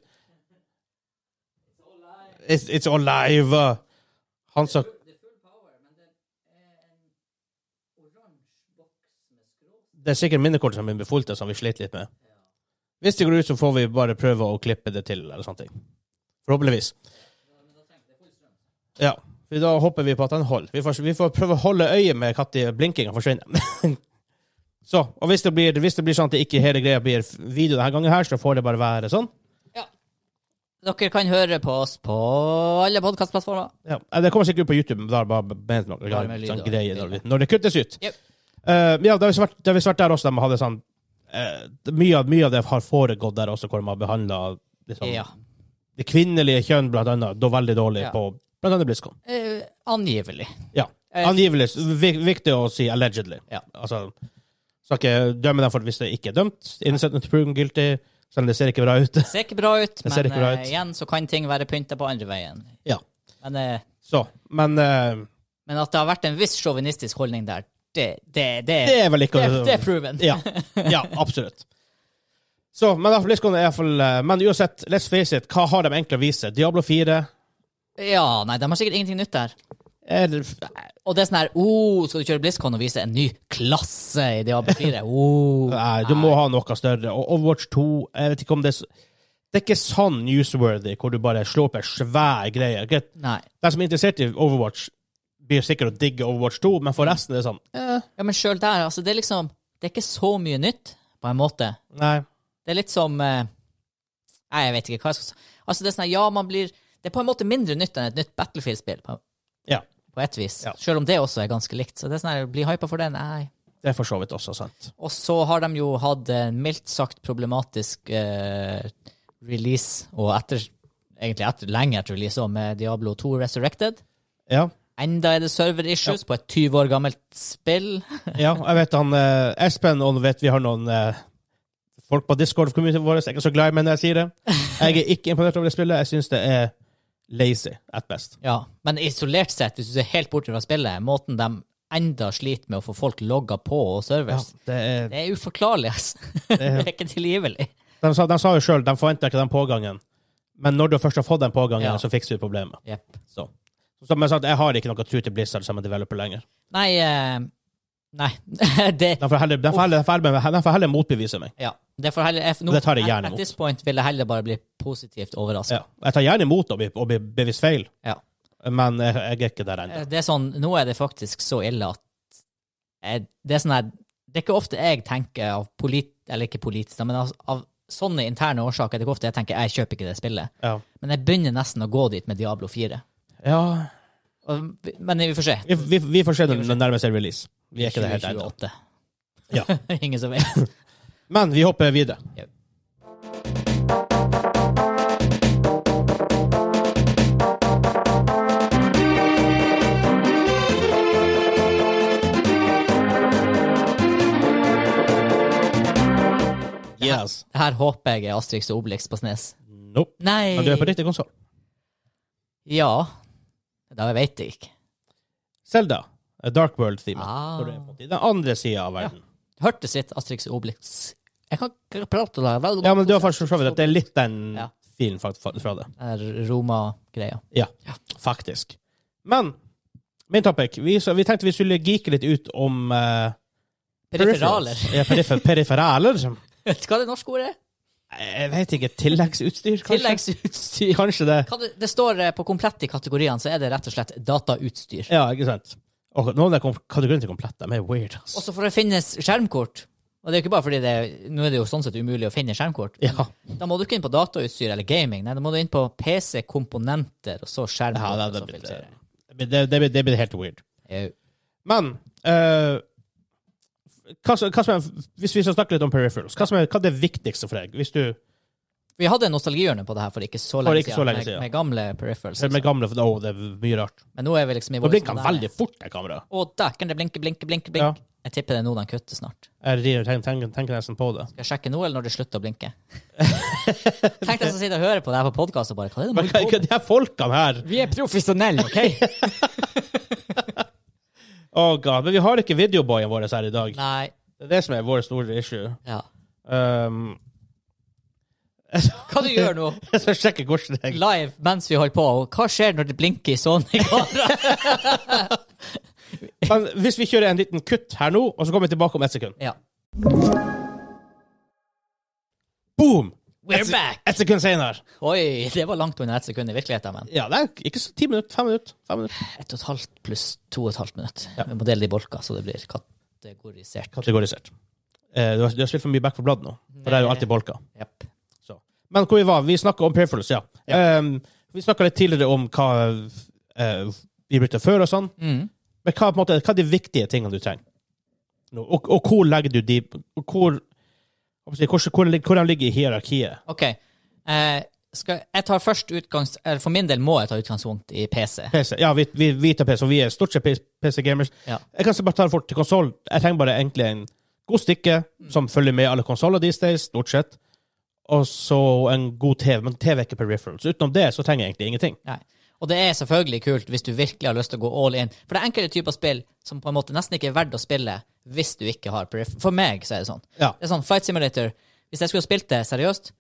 S1: It's, it's all live. uh. Han sa Det er sikkert minnekortet som er befolket, som vi sliter litt med. Hvis det går ut, så får vi bare prøve å klippe det til, eller sånne ting. Forhåpentligvis. Ja. for Da håper vi på at den holder. Vi får, vi får prøve å holde øye med når blinkinga forsvinner. *laughs* så, og hvis det, blir, hvis det blir sånn at det ikke hele greia blir video denne gangen, her, så får det bare være sånn.
S2: Dere kan høre på oss på alle podkastplattformer.
S1: Ja. Eh, Det kommer sikkert ut på YouTube, men da er det bare med noe
S2: Bare med lyd
S1: sånn
S2: og
S1: greie når,
S2: bilder.
S1: det- når det kuttes ut.
S2: Jep.
S1: Eh, ja, det har visst vært, det har visst vært der også de hadde sånn eh, mye, av, mye av det har foregått der også, hvor de har behandla liksom,
S2: Ja.
S1: det kvinnelige kjønn, blant annet, da veldig dårlig
S2: Ja.
S1: på blant annet BlizzCon.
S2: Eh, angivelig.
S1: Ja.
S2: Eh,
S1: Angivelig. Vi- Viktig å si allegedly.
S2: Ja.
S1: Altså, skal ikke dømme dem for hvis det ikke er dømt. Innocent until proven guilty, selv om det ser ikke bra
S2: *laughs*
S1: ut.
S2: Det ser ikke bra ut,
S1: ser
S2: men
S1: ikke bra
S2: eh,
S1: ut.
S2: igjen så kan ting være pynta på andre veien.
S1: Ja.
S2: Men, eh,
S1: Så, men eh,
S2: men at det har vært en viss sjåvinistisk holdning der, det, det, det,
S1: det er vel ikke
S2: det, det er proven.
S1: ja. ja, absolutt. Så, men da, BlizzCon er i hvert fall eh, Men uansett, let's face it, hva har de egentlig å vise? Diablo 4?
S2: ja, nei, de har sikkert ingenting nytt der.
S1: Er det,
S2: Og det er sånn her oh, Skal du kjøre BlizzCon og vise en ny klasse i Diablo 4? Oh.
S1: nei, du må ha noe større. Og Overwatch 2 Jeg vet ikke om det er s- Det er ikke sånn newsworthy hvor du bare slår opp en svær greie. Greit,
S2: Nei.
S1: De som er interessert i Overwatch, blir sikkert å digge Overwatch 2, men for resten er det sånn eh,
S2: Ja, men sjøl der, altså, det er liksom Det er ikke så mye nytt, på en måte.
S1: Nei.
S2: Det er litt som eh, Nei, jeg vet ikke hva jeg skal si. Altså, det er sånn her, ja, man blir Det er på en måte mindre nytt enn et nytt Battlefield-spill, på,
S1: Ja.
S2: på et vis.
S1: Ja.
S2: Sjøl om det også er ganske likt. Så det er sånn her, bli hypa for det? Nei.
S1: Det er for så vidt også sant.
S2: Og så har de jo hatt en mildt sagt problematisk eh, release, og etter, egentlig etter, lenge etter release òg, med Diablo 2 Resurrected.
S1: Ja.
S2: Enda er det server issues på et 20 år gammelt spill.
S1: ja jeg vet han eh, Espen og vet vi har noen eh, folk på Discord-communityen vår. Jeg er ikke så glad i meg når jeg sier det. Jeg er ikke imponert over det spillet. Jeg syns det er lazy at best.
S2: Ja, Men isolert sett, hvis du ser helt bort fra spillet, måten de enda sliter med å få folk logga på og servers,
S1: det er,
S2: det er uforklarlig, *laughs* altså. Det er ikke tilgivelig.
S1: de, sa, de sa jo sjøl de forventa ikke den pågangen, men når du først har fått den pågangen,
S2: Ja.
S1: så fikser vi problemet.
S2: Jepp.
S1: Så. Som jeg sa, jeg har ikke noe tro til Blizzard som en developer lenger.
S2: Nei, eh, nei. *laughs* det,
S1: De får heller, de får heller, de får heller, de får heller motbevise meg.
S2: ja. det, får heller, jeg, nå-
S1: Det tar jeg gjerne
S2: at-
S1: imot.
S2: At this point vil jeg heller bare bli positivt overraska.
S1: Ja. Jeg tar gjerne imot å bli, å bli bevisst feil,
S2: Ja.
S1: men jeg, jeg er ikke der ennå.
S2: Det er sånn, nå er det eh, faktisk så ille at jeg, det er sånn her, det er ikke ofte jeg tenker av polit, Eller ikke politisk, da, men av, av sånne interne årsaker. Det er ikke ofte jeg tenker jeg kjøper ikke det spillet.
S1: Ja.
S2: Men jeg begynner nesten å gå dit med Diablo 4.
S1: ja.
S2: Og, men vi får se.
S1: Vi, vi, vi får se når det nærmer seg release. Vi er ikke det helt ennå.
S2: 2028.
S1: Ja.
S2: *laughs* Ingen som vet.
S1: Men vi hopper videre.
S2: Ja.
S1: Yes.
S2: Det her håper jeg er Asterix og Obelix på Snes.
S1: Nope.
S2: Nei
S1: Men du er på riktig konsoll.
S2: Ja. Da vet jeg ikke.
S1: Selda. Dark World-teamet.
S2: Ah.
S1: Når du er på Den andre sida av verden.
S2: Hørtes litt Asterix og Obelix Jeg kan ikke prate om det.
S1: Ja, men du har faktisk forstått at det er litt den
S2: Ja.
S1: filen fra fra det.
S2: er Roma-greia.
S1: Ja, faktisk. Men main topic. Vi, så, vi tenkte vi skulle geeke litt ut om eh,
S2: Periferaler.
S1: peripherals. *laughs* Ja, perifer periferaler.
S2: Hva er det norske ordet?
S1: Jeg vet ikke. Tilleggsutstyr, kanskje?
S2: Tilleggsutstyr.
S1: Kanskje det.
S2: Hva det, det står eh, på komplett i kategoriene, så er det rett og slett datautstyr.
S1: Ja, ikke sant? Og noen av kom- kategoriene til komplett, de er weird, ass.
S2: Også for å finne skjermkort. Og det er jo ikke bare fordi det Nå er det jo sånn sett umulig å finne skjermkort. men
S1: Ja.
S2: Da må du ikke inn på datautstyr eller gaming. Nei, da må du inn på PC, komponenter, og så skjermkort.
S1: Ja, det,
S2: og så
S1: det, blir-
S2: filtrere.
S1: det, blir- det, blir- det blir helt weird.
S2: Au.
S1: Men eh, hva, som- hva som er, hvis vi skal snakke litt om peripherals, hva, som er, hva er det viktigste for deg? Hvis du
S2: Vi hadde en nostalgihjørne på det her for ikke så
S1: For
S2: lenge
S1: ikke
S2: siden,
S1: så lenge
S2: med,
S1: siden.
S2: med gamle peripherals.
S1: ser med gamle for, Å, det er mye rart.
S2: Men nå er vi liksom i
S1: Nå
S2: vår
S1: blinker han
S2: moderne-
S1: veldig fort, det kameraet.
S2: Å, dæken, det blinker, blinker, blinker,
S1: Ja.
S2: blink. Jeg tipper det er nå de kutter snart.
S1: Jeg rir- tenker, tenker, tenker nesten på det.
S2: Skal jeg sjekke nå, eller når det slutter å blinke? Tenk deg som sitter og hører på det her på podkast og bare Hva er det
S1: Men
S2: de
S1: hva,
S2: holder på
S1: hva de her folkene her
S2: Vi er profesjonelle, OK?
S1: Å, god. Men vi har ikke videoboyen vår her i dag.
S2: Nei.
S1: Det er det som er vår store issue.
S2: Ja.
S1: Um,
S2: Hva du gjør nå,
S1: *laughs* jeg skal sjekke hvordan det er.
S2: live mens vi holder på, og hva skjer når det blinker sånn i Sony-kamera?
S1: Men hvis vi kjører en liten kutt her nå, og så kommer vi tilbake om ett sekund.
S2: ja.
S1: Boom!
S2: We're
S1: Ett se-
S2: back!
S1: Ett sekund senere.
S2: Oi, det var langt under ett sekund i virkeligheten, men
S1: Ja, det er ikke så ti minutter. Fem minutter. Fem minutter.
S2: ett og et halvt pluss to og et halvt minutt. Vi må dele det i bolker, så det blir kategorisert.
S1: Kategorisert. Eh, du, har, du har spilt for mye Back for Blood nå. For det er jo alltid bolka.
S2: Japp.
S1: Så. Men hvor vi var? Vi snakka om peripherals, ja. Um, vi snakka litt tidligere om hva eh, vi brukte før og sånn.
S2: Mm.
S1: Men hva, på en måte, hva er de viktige tingene du trenger? Nå, Og, og hvor legger du de og hvor, hva skal jeg si, hvor, hvor, hvor de ligger i hierarkiet?
S2: OK. Eh, skal, jeg tar først utgangs... Eller for min del må jeg ta utgangspunkt i PC.
S1: PC. Ja, vi, vi, vi tar PC, og vi er stort sett PC-gamers.
S2: Ja.
S1: Jeg kan så bare ta det fort til konsoll. Jeg trenger bare egentlig en god stikke som følger med alle konsoller these days, stort sett. Og så en god TV, men TV er ikke peripherals. Utenom det så trenger jeg egentlig ingenting.
S2: Nei. Og det er selvfølgelig kult hvis du virkelig har lyst til å gå all in. For det er enkelte typer spill som på en måte nesten ikke er verdt å spille hvis du ikke har peripher. For meg så er det sånn.
S1: Ja.
S2: Det er sånn Flight Simulator Hvis jeg skulle ha spilt det seriøst,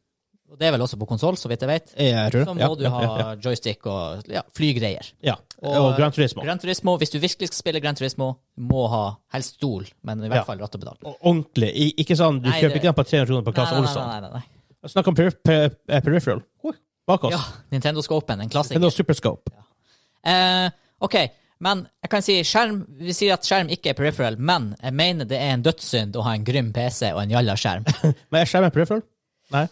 S2: og det er vel også på konsoll, så vidt jeg vet,
S1: Jeg tror det.
S2: så må
S1: Ja,
S2: du
S1: ja,
S2: ha
S1: ja, ja.
S2: joystick og ja, flygreier.
S1: Ja. Og,
S2: Og- eh,
S1: Gran Turismo.
S2: Gran Turismo, hvis du virkelig skal spille Gran Turismo, må ha helst stol, men i hvert
S1: Ja.
S2: fall ratt og pedal.
S1: Og ordentlig. I, ikke sånn du
S2: Nei,
S1: kjøper
S2: det-
S1: ikke den på 300 kroner på Claes
S2: Nei, nei,
S1: Olsson.
S2: nei, nei, nei.
S1: Snakk om perif- per, eh, peripheral. Oi, Bak oss.
S2: Ja, Nintendo Scopen,
S1: Det
S2: en
S1: er
S2: klassiker.
S1: noe superscope.
S2: Eh, ok, men jeg kan si skjerm Vi sier at skjerm ikke er peripheral, men jeg mener det er en dødssynd å ha en grym PC og en jalla
S1: *laughs*
S2: skjerm.
S1: *laughs* Men er skjermen peripheral?
S2: *sighs*
S1: Nei.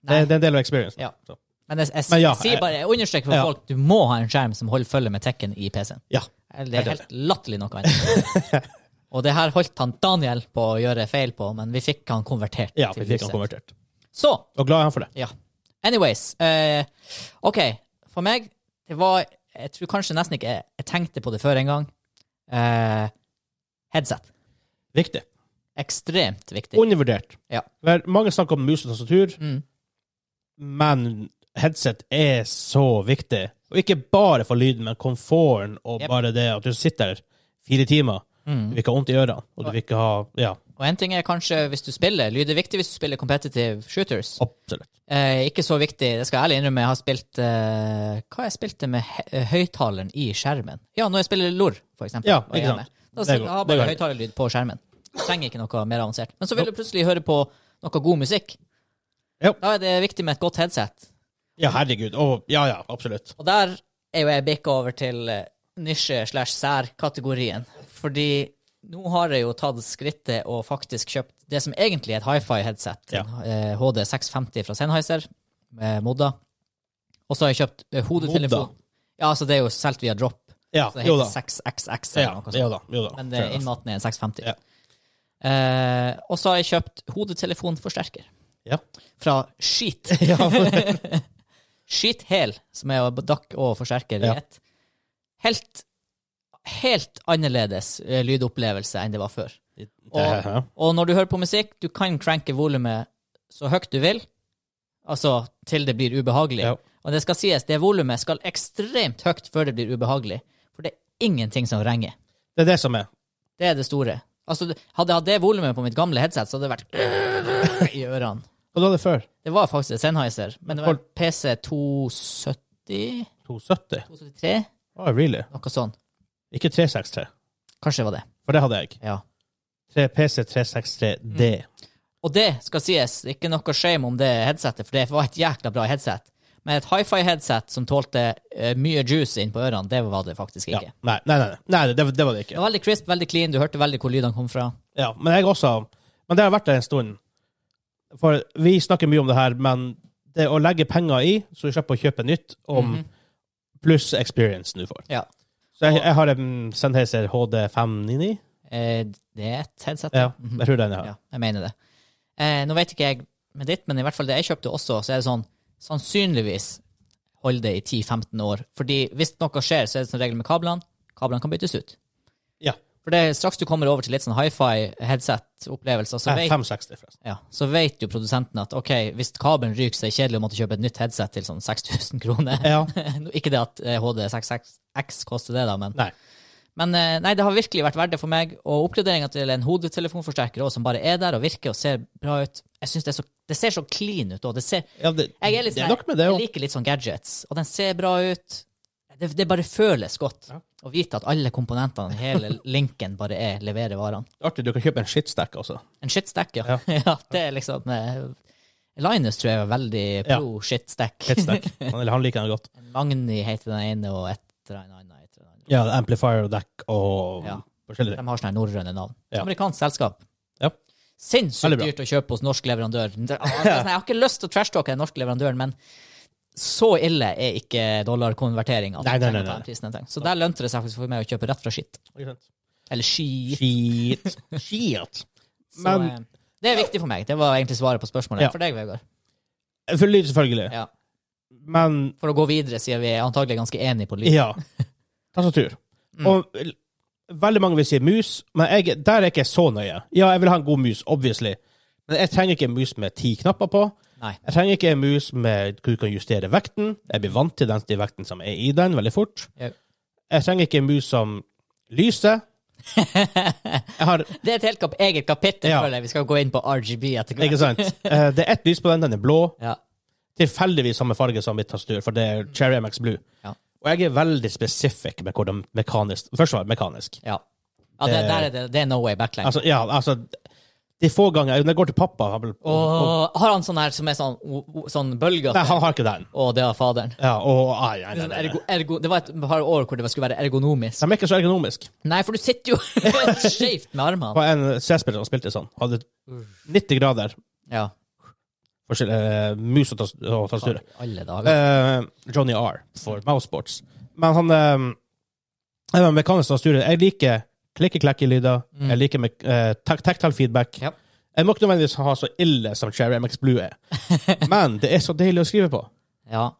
S1: Det,
S2: Nei.
S1: er- det er en del av experiencen.
S2: Ja.
S1: Så.
S2: Men jeg, jeg,
S1: Men ja,
S2: sier bare, jeg understreker for
S1: ja.
S2: folk du må ha en skjerm som holder følge med tekken i PC-en.
S1: ja.
S2: Det er helt latterlig noe annet.
S1: *laughs*
S2: og det her holdt han Daniel på å gjøre feil på, men vi fikk han konvertert.
S1: Ja,
S2: til
S1: vi fikk han
S2: huset.
S1: konvertert.
S2: Så,
S1: Og glad er han for det.
S2: ja. Anyways. eh, OK, for meg, det var Jeg tror kanskje nesten ikke jeg, jeg tenkte på det før engang. Uh, headset.
S1: Viktig.
S2: Ekstremt viktig.
S1: Undervurdert.
S2: Ja.
S1: Vel, mange snakker om mus og tastatur,
S2: Mm.
S1: men headset er så viktig. Og ikke bare for lyden, men komforten og
S2: Yep.
S1: bare det at du sitter der fire timer.
S2: Mm.
S1: Du vil ikke ha vondt i ørene, og du vil ikke ha Ja,
S2: Og en ting er kanskje hvis du spiller Lyd er viktig hvis du spiller competitive shooters.
S1: absolutt.
S2: Eh, ikke så viktig, det skal jeg ærlig innrømme. Jeg har spilt eh, Hva jeg spilte med he- eh, høyttaleren i skjermen? Ja, når jeg spiller LOR, for eksempel.
S1: Ja,
S2: og er
S1: ikke sant.
S2: hjemme. Da
S1: Det
S2: sitter-
S1: går-
S2: har jeg
S1: det
S2: bare
S1: går.
S2: høyttalerlyd på skjermen. Trenger ikke noe mer avansert. Men så vil du plutselig høre på noe god musikk.
S1: Ja.
S2: Da er det viktig med et godt headset.
S1: Ja, herregud. Og ja, ja, absolutt.
S2: Og der er jo jeg bikka over til eh, nisje slash sær-kategorien. Fordi nå har jeg jo tatt skrittet og faktisk kjøpt det som egentlig er et hifi-headset,
S1: Ja.
S2: eh, HD 650 fra Sennheiser, med modda. Og så har jeg kjøpt eh, hodetelefon.
S1: Modda?
S2: Ja, altså det er jo solgt via Drop,
S1: Ja,
S2: så det
S1: jo da.
S2: heter 6XX eller
S1: Ja,
S2: noe sånt.
S1: jo da. Jo da.
S2: Men det,
S1: Fair enough.
S2: innmaten er en 650.
S1: Ja.
S2: Eh, og så har jeg kjøpt hodetelefonforsterker. *laughs*
S1: Ja.
S2: Fra Skit.
S1: *laughs*
S2: Skit Hel, som er dakk og forsterker i
S1: Ja.
S2: ett. Helt, helt annerledes eh, lydopplevelse enn det var før.
S1: Det- ja.
S2: Og når du hører på musikk, du kan cranke volumet så høyt du vil, altså til det blir ubehagelig.
S1: Ja.
S2: Og det skal sies, det volumet skal ekstremt høyt før det blir ubehagelig, for det er ingenting som ringer.
S1: Det er det som er.
S2: Det er det store. Altså, du- hadde jeg hatt det volumet på mitt gamle headset, så hadde det
S1: *laughs*
S2: vært i ørene.
S1: Hva var det før?
S2: Det var faktisk et Sennheiser, men det var en PC 270
S1: 270?
S2: 273,
S1: Oh, really?
S2: noe sånt.
S1: Ikke 363,
S2: Kanskje det var det.
S1: for det hadde jeg.
S2: Ja.
S1: Tre- PC 363D.
S2: Og det skal sies, ikke noe shame om det headsetet, for det var et jækla bra headset. Men et hifi-headset som tålte eh, mye juice inn på ørene, det var det faktisk
S1: Ja.
S2: ikke.
S1: Nei, nei, nei, nei det, det var det
S2: Det
S1: ikke.
S2: var veldig crisp, veldig clean, du hørte veldig hvor lydene kom fra.
S1: Ja, men jeg også Men det har vært der en stund. For vi snakker mye om det her, men det å legge penger i, så du slipper å kjøpe nytt, om
S2: Mhm.
S1: pluss experiencen du får.
S2: Ja.
S1: Så jeg, jeg har en Sennheiser HD599.
S2: Eh, det er et headset.
S1: Ja,
S2: Mhm.
S1: jeg tror den jeg har.
S2: Ja, jeg mener det. Eh, nå vet ikke jeg med ditt, men i hvert fall det jeg kjøpte også, så er det sånn Sannsynligvis hold det i 10-15 år. Fordi hvis noe skjer, så er det som regel med kablene. Kablene kan byttes ut.
S1: Ja.
S2: For det, straks du kommer over til litt sånn hifi-headset-opplevelser, så,
S1: Nei,
S2: vet-
S1: 560, forresten.
S2: ja, så vet jo produsenten at ok, hvis kabelen ryker, så er det kjedelig å måtte kjøpe et nytt headset til sånn 6000 kroner.
S1: Ja.
S2: *laughs* Nå, ikke det at eh, HD66X koster det, da, men
S1: Nei.
S2: Men eh, nei, det har virkelig vært verdt det for meg. Og oppgraderinga til en hodetelefonforsterker også, som bare er der og virker og ser bra ut Jeg synes det, er så, det ser så clean ut. Og det ser,
S1: Ja, det,
S2: jeg, er litt,
S1: det er
S2: sånn-
S1: nok med det
S2: jeg
S1: òg.
S2: liker litt sånn gadgets, og den ser bra ut. Det, det bare føles godt
S1: Ja.
S2: å vite at alle komponentene, hele linken, bare er leverer varene.
S1: Artig, du kan kjøpe en shitstack også.
S2: En shitstack, ja.
S1: Ja.
S2: *laughs* ja. det er liksom eh, Linus tror jeg er veldig
S1: Ja.
S2: pro shitstack. *laughs*
S1: Shitstack. Han, eller han liker den godt.
S2: Magni heter den ene, og et eller annet. et eller annet.
S1: Ja, amplifier og deck og
S2: Ja.
S1: forskjellige ting.
S2: De har sånne her norrøne navn.
S1: Ja.
S2: Amerikansk selskap.
S1: Ja.
S2: Sinnssykt
S1: Veldig bra.
S2: dyrt å kjøpe hos norsk leverandør.
S1: *laughs*
S2: Det- altså, Jeg har ikke lyst til å trashtalke den norske leverandøren, men så ille er ikke dollarkonvertering.
S1: Nei,
S2: at
S1: nei,
S2: man trenger
S1: nei,
S2: å ta
S1: nei.
S2: den prisen en gang. Så der lønte det seg faktisk for meg å kjøpe rett fra skitt.
S1: Ikke sant?
S2: Eller ski.
S1: Shit. Shit.
S2: Så,
S1: Men-
S2: eh, det er viktig for meg. Det var egentlig svaret på spørsmålet.
S1: Ja.
S2: For deg, Vegard.
S1: For lyd, selvfølgelig.
S2: Ja.
S1: Men
S2: For å gå videre, siden vi er antagelig ganske enige på lyd.
S1: ja. Tastatur.
S2: Mm.
S1: Og l- veldig mange vil si mus, men jeg, der er jeg ikke så nøye. Ja, jeg vil ha en god mus, obviously. Men jeg trenger ikke en mus med ti knapper på.
S2: Nei.
S1: Jeg trenger ikke en mus med hvor du kan justere vekten. Jeg blir vant til den til vekten som er i den, veldig fort.
S2: Ja.
S1: Jeg trenger ikke en mus som
S2: *laughs*
S1: lyser. Jeg har
S2: Det er et helt kap eget kapittel,
S1: Ja.
S2: føler jeg. Vi skal gå inn på RGB etter hvert.
S1: Ikke sant? Eh, Det er ett lys på den, den er blå.
S2: Ja.
S1: Tilfeldigvis samme farge som mitt tastatur, for det er Cherry MX Blue.
S2: Ja.
S1: Og jeg er veldig spesifikk med hvordan mekanisk Først var det mekanisk.
S2: ja. ja det, der er det, det er no way back.
S1: Altså, ja, altså De få ganger Når jeg går til pappa han, vil-
S2: Og har han sånn her som er sånn, o- o- sånn bølger?
S1: Nei, han har ikke den.
S2: Å, det var faderen.
S1: Ja, og ai, nei, nei,
S2: Sånn
S1: nei, nei.
S2: ergo, ergo, det var et par år hvor det skulle være ergonomisk.
S1: De er ikke så ergonomiske.
S2: Nei, for du sitter jo *laughs* skjevt med
S1: Det
S2: armene.
S1: var en C-spiller som spilte sånn. Hadde 90 grader
S2: Ja.
S1: forskjell eh, mus og tas- og tastatur.
S2: Alle dager.
S1: Eh, Johnny R for Mouseboards. Men han eh, er en mekanisk tastatur. Jeg liker klikke-klekke-lyder. Jeg liker mek- eh, tak- tactile feedback.
S2: Mm. Ja.
S1: Jeg må ikke nødvendigvis ha så ille som Cherry MX Blue
S2: *laughs*
S1: er, men det er så deilig å skrive på.
S2: Ja.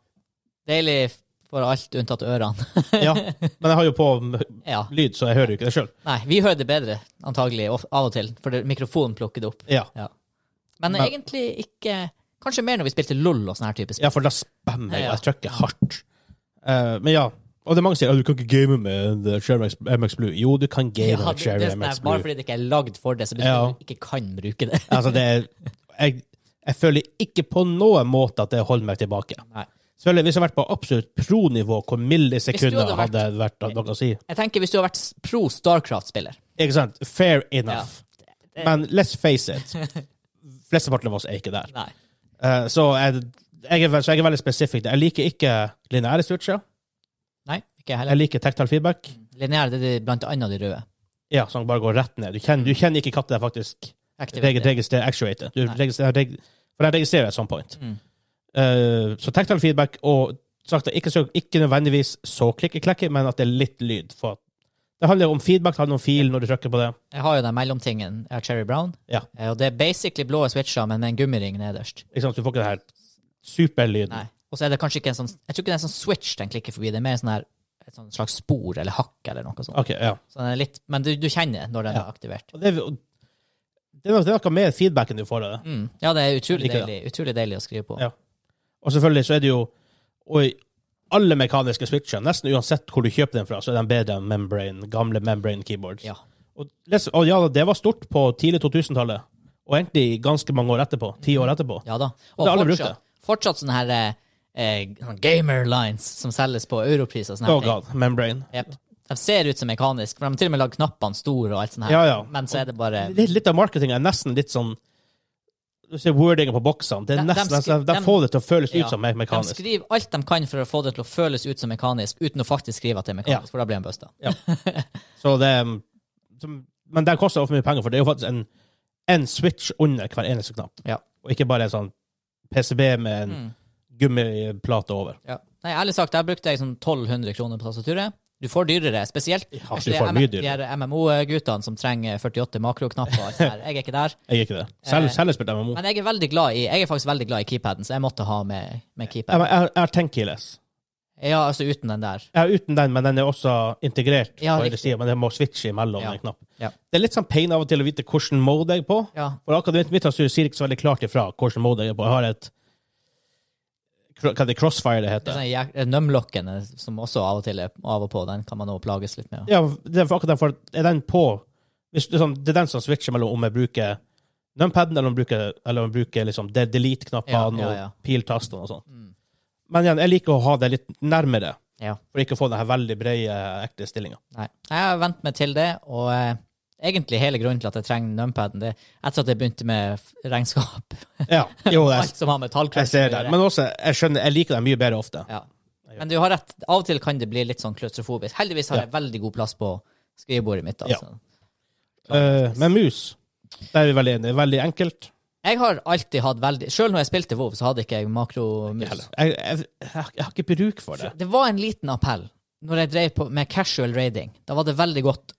S2: Deilig for alt unntatt ørene.
S1: Ja, Men jeg har jo på m-
S2: Ja.
S1: lyd, så jeg hører jo ikke det sjøl.
S2: Nei, vi hører det bedre, antagelig, of- av og til, for det- mikrofonen plukker det opp.
S1: Ja.
S2: Ja. Men,
S1: Men-
S2: egentlig ikke Kanskje mer når vi spilte LOL og sånne her type spill.
S1: ja, for da spammer jeg,
S2: Ja.
S1: og jeg trykker hardt. Eh, men ja. Og det er mange som sier at du kan ikke game med eh, Cherry MX, MX Blue. Jo, du kan game
S2: Ja,
S1: med
S2: det, det
S1: Cherry
S2: er sånn her,
S1: MX
S2: bare
S1: Blue.
S2: fordi det ikke er lagd for det, så betyr det
S1: Ja.
S2: at du ikke kan bruke det.
S1: Altså, det er, jeg, jeg føler ikke på noen måte at det holder meg tilbake.
S2: *laughs* Nei.
S1: Selvfølgelig, hvis jeg hadde vært på absolutt pro-nivå, hvor millisekunder
S2: Hvis du hadde
S1: hadde vært, noe å si.
S2: Jeg tenker Hvis du har vært s- pro Starcraft-spiller
S1: Ikke sant? Fair enough.
S2: det-
S1: Men let's face
S2: *laughs*
S1: it. Flesteparten av oss er ikke der.
S2: Nei.
S1: Eh, så, jeg, jeg er, vel- så jeg er veldig spesifikk. Jeg liker ikke lineære switcher.
S2: Nei, ikke jeg heller.
S1: Jeg liker tactile feedback.
S2: Mm. Lineære det er de- blant annet de røde.
S1: Ja, som bare går rett ned. Du kjenner, du kjenner ikke katta faktisk. Jeg
S2: Activate
S1: Reg,
S2: det.
S1: register, actuate. Du
S2: Mm. Nei.
S1: registrerer, reg, for jeg registrerer at some point.
S2: Mm.
S1: Eh, så tactile feedback, og sagt, ikke, så, ikke nødvendigvis så klikke-klekke, men at det er litt lyd. For at det handler om feedback, det handler om fil når du trykker på det.
S2: Jeg har jo den mellomtingen. Jeg har Cherry Brown.
S1: Ja.
S2: Eh, Og det er basically blå switcher, men med en gummiring nederst.
S1: Ikke sant? Du får ikke det her superlyden.
S2: Nei. Og så er det kanskje ikke en sånn Jeg tror ikke det er en sånn switch den klikker forbi. Det er mer sånn her, et sånn slags spor eller hakk eller noe sånt.
S1: Ok, ja.
S2: Så den er litt, men du, du kjenner når den
S1: Ja.
S2: er aktivert.
S1: Og det, er- og det, er noe- det er noe mer feedback enn du får av det.
S2: Mm. Ja, det er utrolig
S1: Liker det.
S2: deilig, utrolig deilig å skrive på.
S1: Ja. Og selvfølgelig så er det jo og i alle mekaniske switcher, nesten uansett hvor du kjøper den fra, så er den bedre enn membrane, gamle membrane keyboards.
S2: Ja.
S1: Og, les- og ja, det var stort på tidlig 2000-tallet, og egentlig ganske mange år etterpå. Ti år etterpå.
S2: Ja da.
S1: Det har alle brukt
S2: fortsatt, fortsatt sånne her eh, eh, sånne gamer lines som selges på europris og sånne
S1: Oh
S2: her ting.
S1: god, membrane.
S2: Jep. De ser ut som mekanisk, for de har til og med lagd knappene store og alt sånt her.
S1: Ja, ja.
S2: Men så er det bare
S1: Litt, litt av marketinga er nesten litt sånn Du ser wordinga på boksene. Det er
S2: De- de
S1: nesten, altså, de,
S2: skri- de-
S1: får det til å føles
S2: Ja.
S1: ut som mer
S2: De
S1: mekanisk.
S2: skriver alt de kan for å få det til å føles ut som mekanisk, uten å faktisk skrive at det er mekanisk,
S1: Ja.
S2: for da blir de busta.
S1: Så det er, som, men den koster for mye penger, for det er jo faktisk en, en switch under hver eneste knapp.
S2: Ja.
S1: Og ikke bare en sånn PCB med en
S2: Mm.
S1: gummiplate over.
S2: Ja. Nei, ærlig sagt, der brukte jeg sånn 1200 kroner på tastaturet. Du får dyrere, spesielt
S1: Ja,
S2: kanskje
S1: du
S2: de
S1: får
S2: Altså, M-
S1: mye dyrere.
S2: de her MMO-guttene som trenger 48 makroknapper. og alt sånt her. Jeg er ikke
S1: *laughs*
S2: der.
S1: Jeg er ikke det. Selv,
S2: Eh,
S1: selv spilte jeg MMO.
S2: Men jeg er veldig glad i Jeg er faktisk veldig glad i keypaden, så jeg måtte ha med, med
S1: Jeg,
S2: keypad.
S1: jeg, jeg har tenkt keyless.
S2: Ja, altså uten den der.
S1: Jeg har uten den, men den er også integrert
S2: Ja,
S1: på
S2: riktig.
S1: høyre side, men jeg må switche imellom
S2: Ja.
S1: en knapp.
S2: Ja.
S1: Det er litt sånn pain av og til å vite hvilken mode jeg er på.
S2: Ja.
S1: For akkurat mitt tastatur sier ikke så veldig klart ifra hvilken mode jeg er på. Jeg har et Hva er det crossfire det
S2: Det
S1: heter?
S2: er sånn jæk- Numlocken, eh, som også av og til er av og på, den kan man også plages litt med.
S1: Ja, det er for akkurat derfor er den på hvis, det er sånn, Det er den som switcher mellom om jeg bruker numpaden, eller om jeg bruker, eller om jeg bruker liksom, de- delete-knappene
S2: Ja, ja, ja.
S1: og piltastene og sånn.
S2: Mm.
S1: Men igjen, jeg liker å ha det litt nærmere,
S2: Ja.
S1: for ikke å få denne veldig brede, ekte stillinga.
S2: Nei. Jeg har vent meg til det, og eh, egentlig hele grunnen til at jeg trenger numpaden, det er etter at jeg begynte med f- regnskap.
S1: Ja, jo, *laughs* jeg,
S2: Alt som har med tallklasser
S1: jeg ser det. Men også, jeg skjønner, jeg liker det mye bedre ofte.
S2: ja. Men du har rett, av og til kan det bli litt sånn klaustrofobisk. Heldigvis har
S1: Ja.
S2: jeg veldig god plass på skrivebordet mitt.
S1: Ja.
S2: Altså.
S1: Eh, men mus, der er vi veldig enige. Det er Veldig enkelt.
S2: Jeg har alltid hatt veldig Selv når jeg spilte WoW, så hadde ikke jeg
S1: Jeg,
S2: makromus.
S1: jeg, jeg, jeg har ikke bruk for det.
S2: Det var en liten appell når jeg drev på med casual raiding. Da var det veldig godt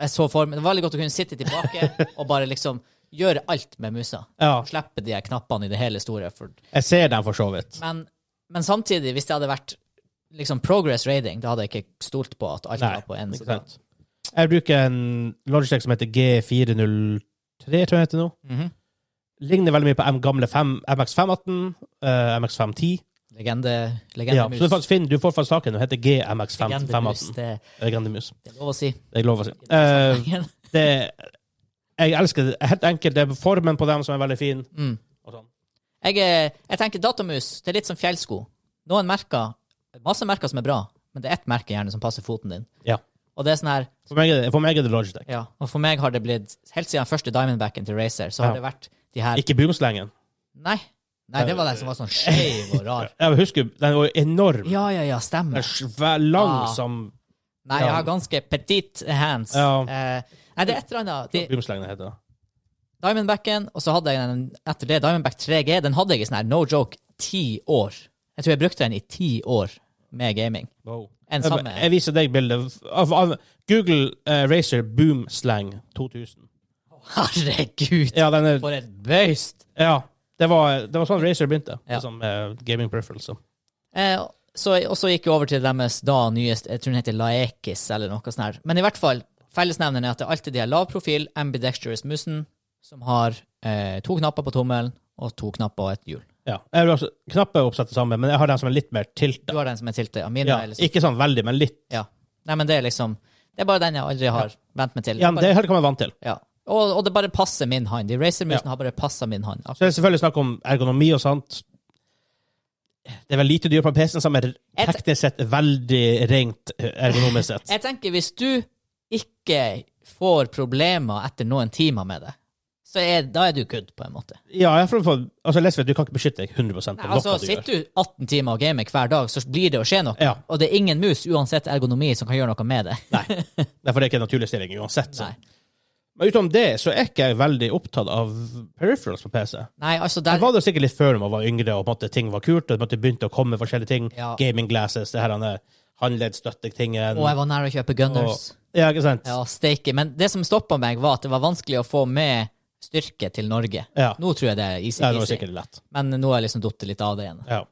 S2: jeg så for meg, Det var veldig godt å kunne
S1: *laughs*
S2: sitte tilbake og bare liksom gjøre alt med musa.
S1: Ja,
S2: Slippe de her knappene i det hele store. For
S1: jeg ser den for så vidt.
S2: Men, men samtidig, hvis det hadde vært liksom progress raiding, da hadde jeg ikke stolt på at alt
S1: Nei,
S2: var på en
S1: Ikke
S2: sekund.
S1: sant? Jeg bruker en Logitech som heter G403, tror jeg den heter nå.
S2: Mhm.
S1: Ligner veldig mye på M gamle 5, MX518, eh, MX510.
S2: Legende,
S1: Ja, så
S2: legendemus.
S1: du, faktisk finner, du får faktisk tak i den. Den heter
S2: legendemus,
S1: GMX518.
S2: det,
S1: Legendemus.
S2: det er lov å si.
S1: Det er lov å si. Eh,
S2: mm.
S1: det, jeg elsker det. Helt enkelt, det er formen på dem som er veldig fin.
S2: Mm.
S1: Og sånn.
S2: jeg, eh, jeg tenker datamus, det er litt som fjellsko. Noen merker, masse merker som er bra, men det er ett merke gjerne som passer foten din.
S1: Ja.
S2: Og det er sånn her,
S1: For meg, er det- for meg er det Logitech.
S2: ja, og for meg har det blitt, helt siden første Diamondbacken til Racer, så har
S1: Ja.
S2: det vært de her,
S1: Ikke boomslengen.
S2: nei, nei, det var den som var sånn skjev og
S1: *laughs*
S2: rar.
S1: Jeg husker, den var jo enorm.
S2: Ja, ja, ja,
S1: Den er
S2: stemmer.
S1: svær, lang
S2: Ah.
S1: som
S2: Nei, jeg har ganske petit hands.
S1: Ja.
S2: Eh, nei, det er et eller annet. De,
S1: boomslengen heter. det.
S2: Diamondbacken, og så hadde jeg den etter det, Diamondback 3G, den hadde jeg i sånn her, no joke, ti år. Jeg tror jeg brukte den i ti år med gaming. En
S1: Jeg-
S2: samme.
S1: Jeg viser deg bildet. Av, av Google eh, Razer Boom Slang 2000.
S2: Herregud,
S1: Ja, den er,
S2: for et bøyst!
S1: ja det, var, det var sånn Razer begynte,
S2: Ja.
S1: som eh, gaming preference.
S2: Eh, så, og så gikk jeg over til deres da nyeste, jeg tror den heter Laekis eller noe sånt her. Men i hvert fall, fellesnevneren er at det er alltid de her lavprofil, ambidextrous-musen, som har eh, to knapper på tommelen, og to knapper og et hjul.
S1: Ja. Jeg vil også knappe oppsette sammen, men jeg har den som er litt mer
S2: Du
S1: tilta.
S2: har den som er tiltet, ja. Mine
S1: Ja,
S2: er liksom
S1: ikke sånn veldig, men litt.
S2: Ja. Nei, men det er liksom Det er bare den jeg aldri har vent meg til.
S1: Ja,
S2: Bare-
S1: det er helt hva man er vant til.
S2: ja. og, og det bare passer min hånd. De Racer-musene har bare passa min hånd.
S1: Så det er selvfølgelig snakk om ergonomi og sånt. Det er vel lite dyr på PC-en som er
S2: Jeg-
S1: teknisk sett veldig rent eh, ergonomisk
S2: *laughs*
S1: sett.
S2: Jeg tenker hvis du ikke får problemer etter noen timer med det, så er, da er du good, på en måte.
S1: Ja, jeg får, får- altså, Lesvik, du kan ikke beskytte deg 100 på
S2: Nei,
S1: noe
S2: altså,
S1: du gjør.
S2: Sitter du 18 timer og gamer hver dag, så blir det å skje noe.
S1: Ja.
S2: Og det er ingen mus, uansett ergonomi, som kan gjøre noe med det.
S1: Nei, Nei, for det er ikke en naturlig stilling uansett. *laughs* Så.
S2: Nei.
S1: Men utenom det så er ikke jeg veldig opptatt av peripherals på PC.
S2: Nei, altså,
S1: Jeg
S2: der
S1: var det sikkert litt før når man var yngre, og på en måte ting var kult, og på en måte begynte å komme forskjellige ting.
S2: Ja.
S1: Gaming glasses, det her denne håndleddstøttetingen.
S2: Og jeg var nær å kjøpe Gunners.
S1: Ja, ikke sant?
S2: Ja, steike. Men det som stoppa meg, var at det var vanskelig å få med styrke til Norge.
S1: Ja.
S2: Nå tror jeg det er easy.
S1: Ja, det var
S2: easy.
S1: sikkert lett.
S2: Men nå har jeg liksom datt litt av det igjen.
S1: Ja.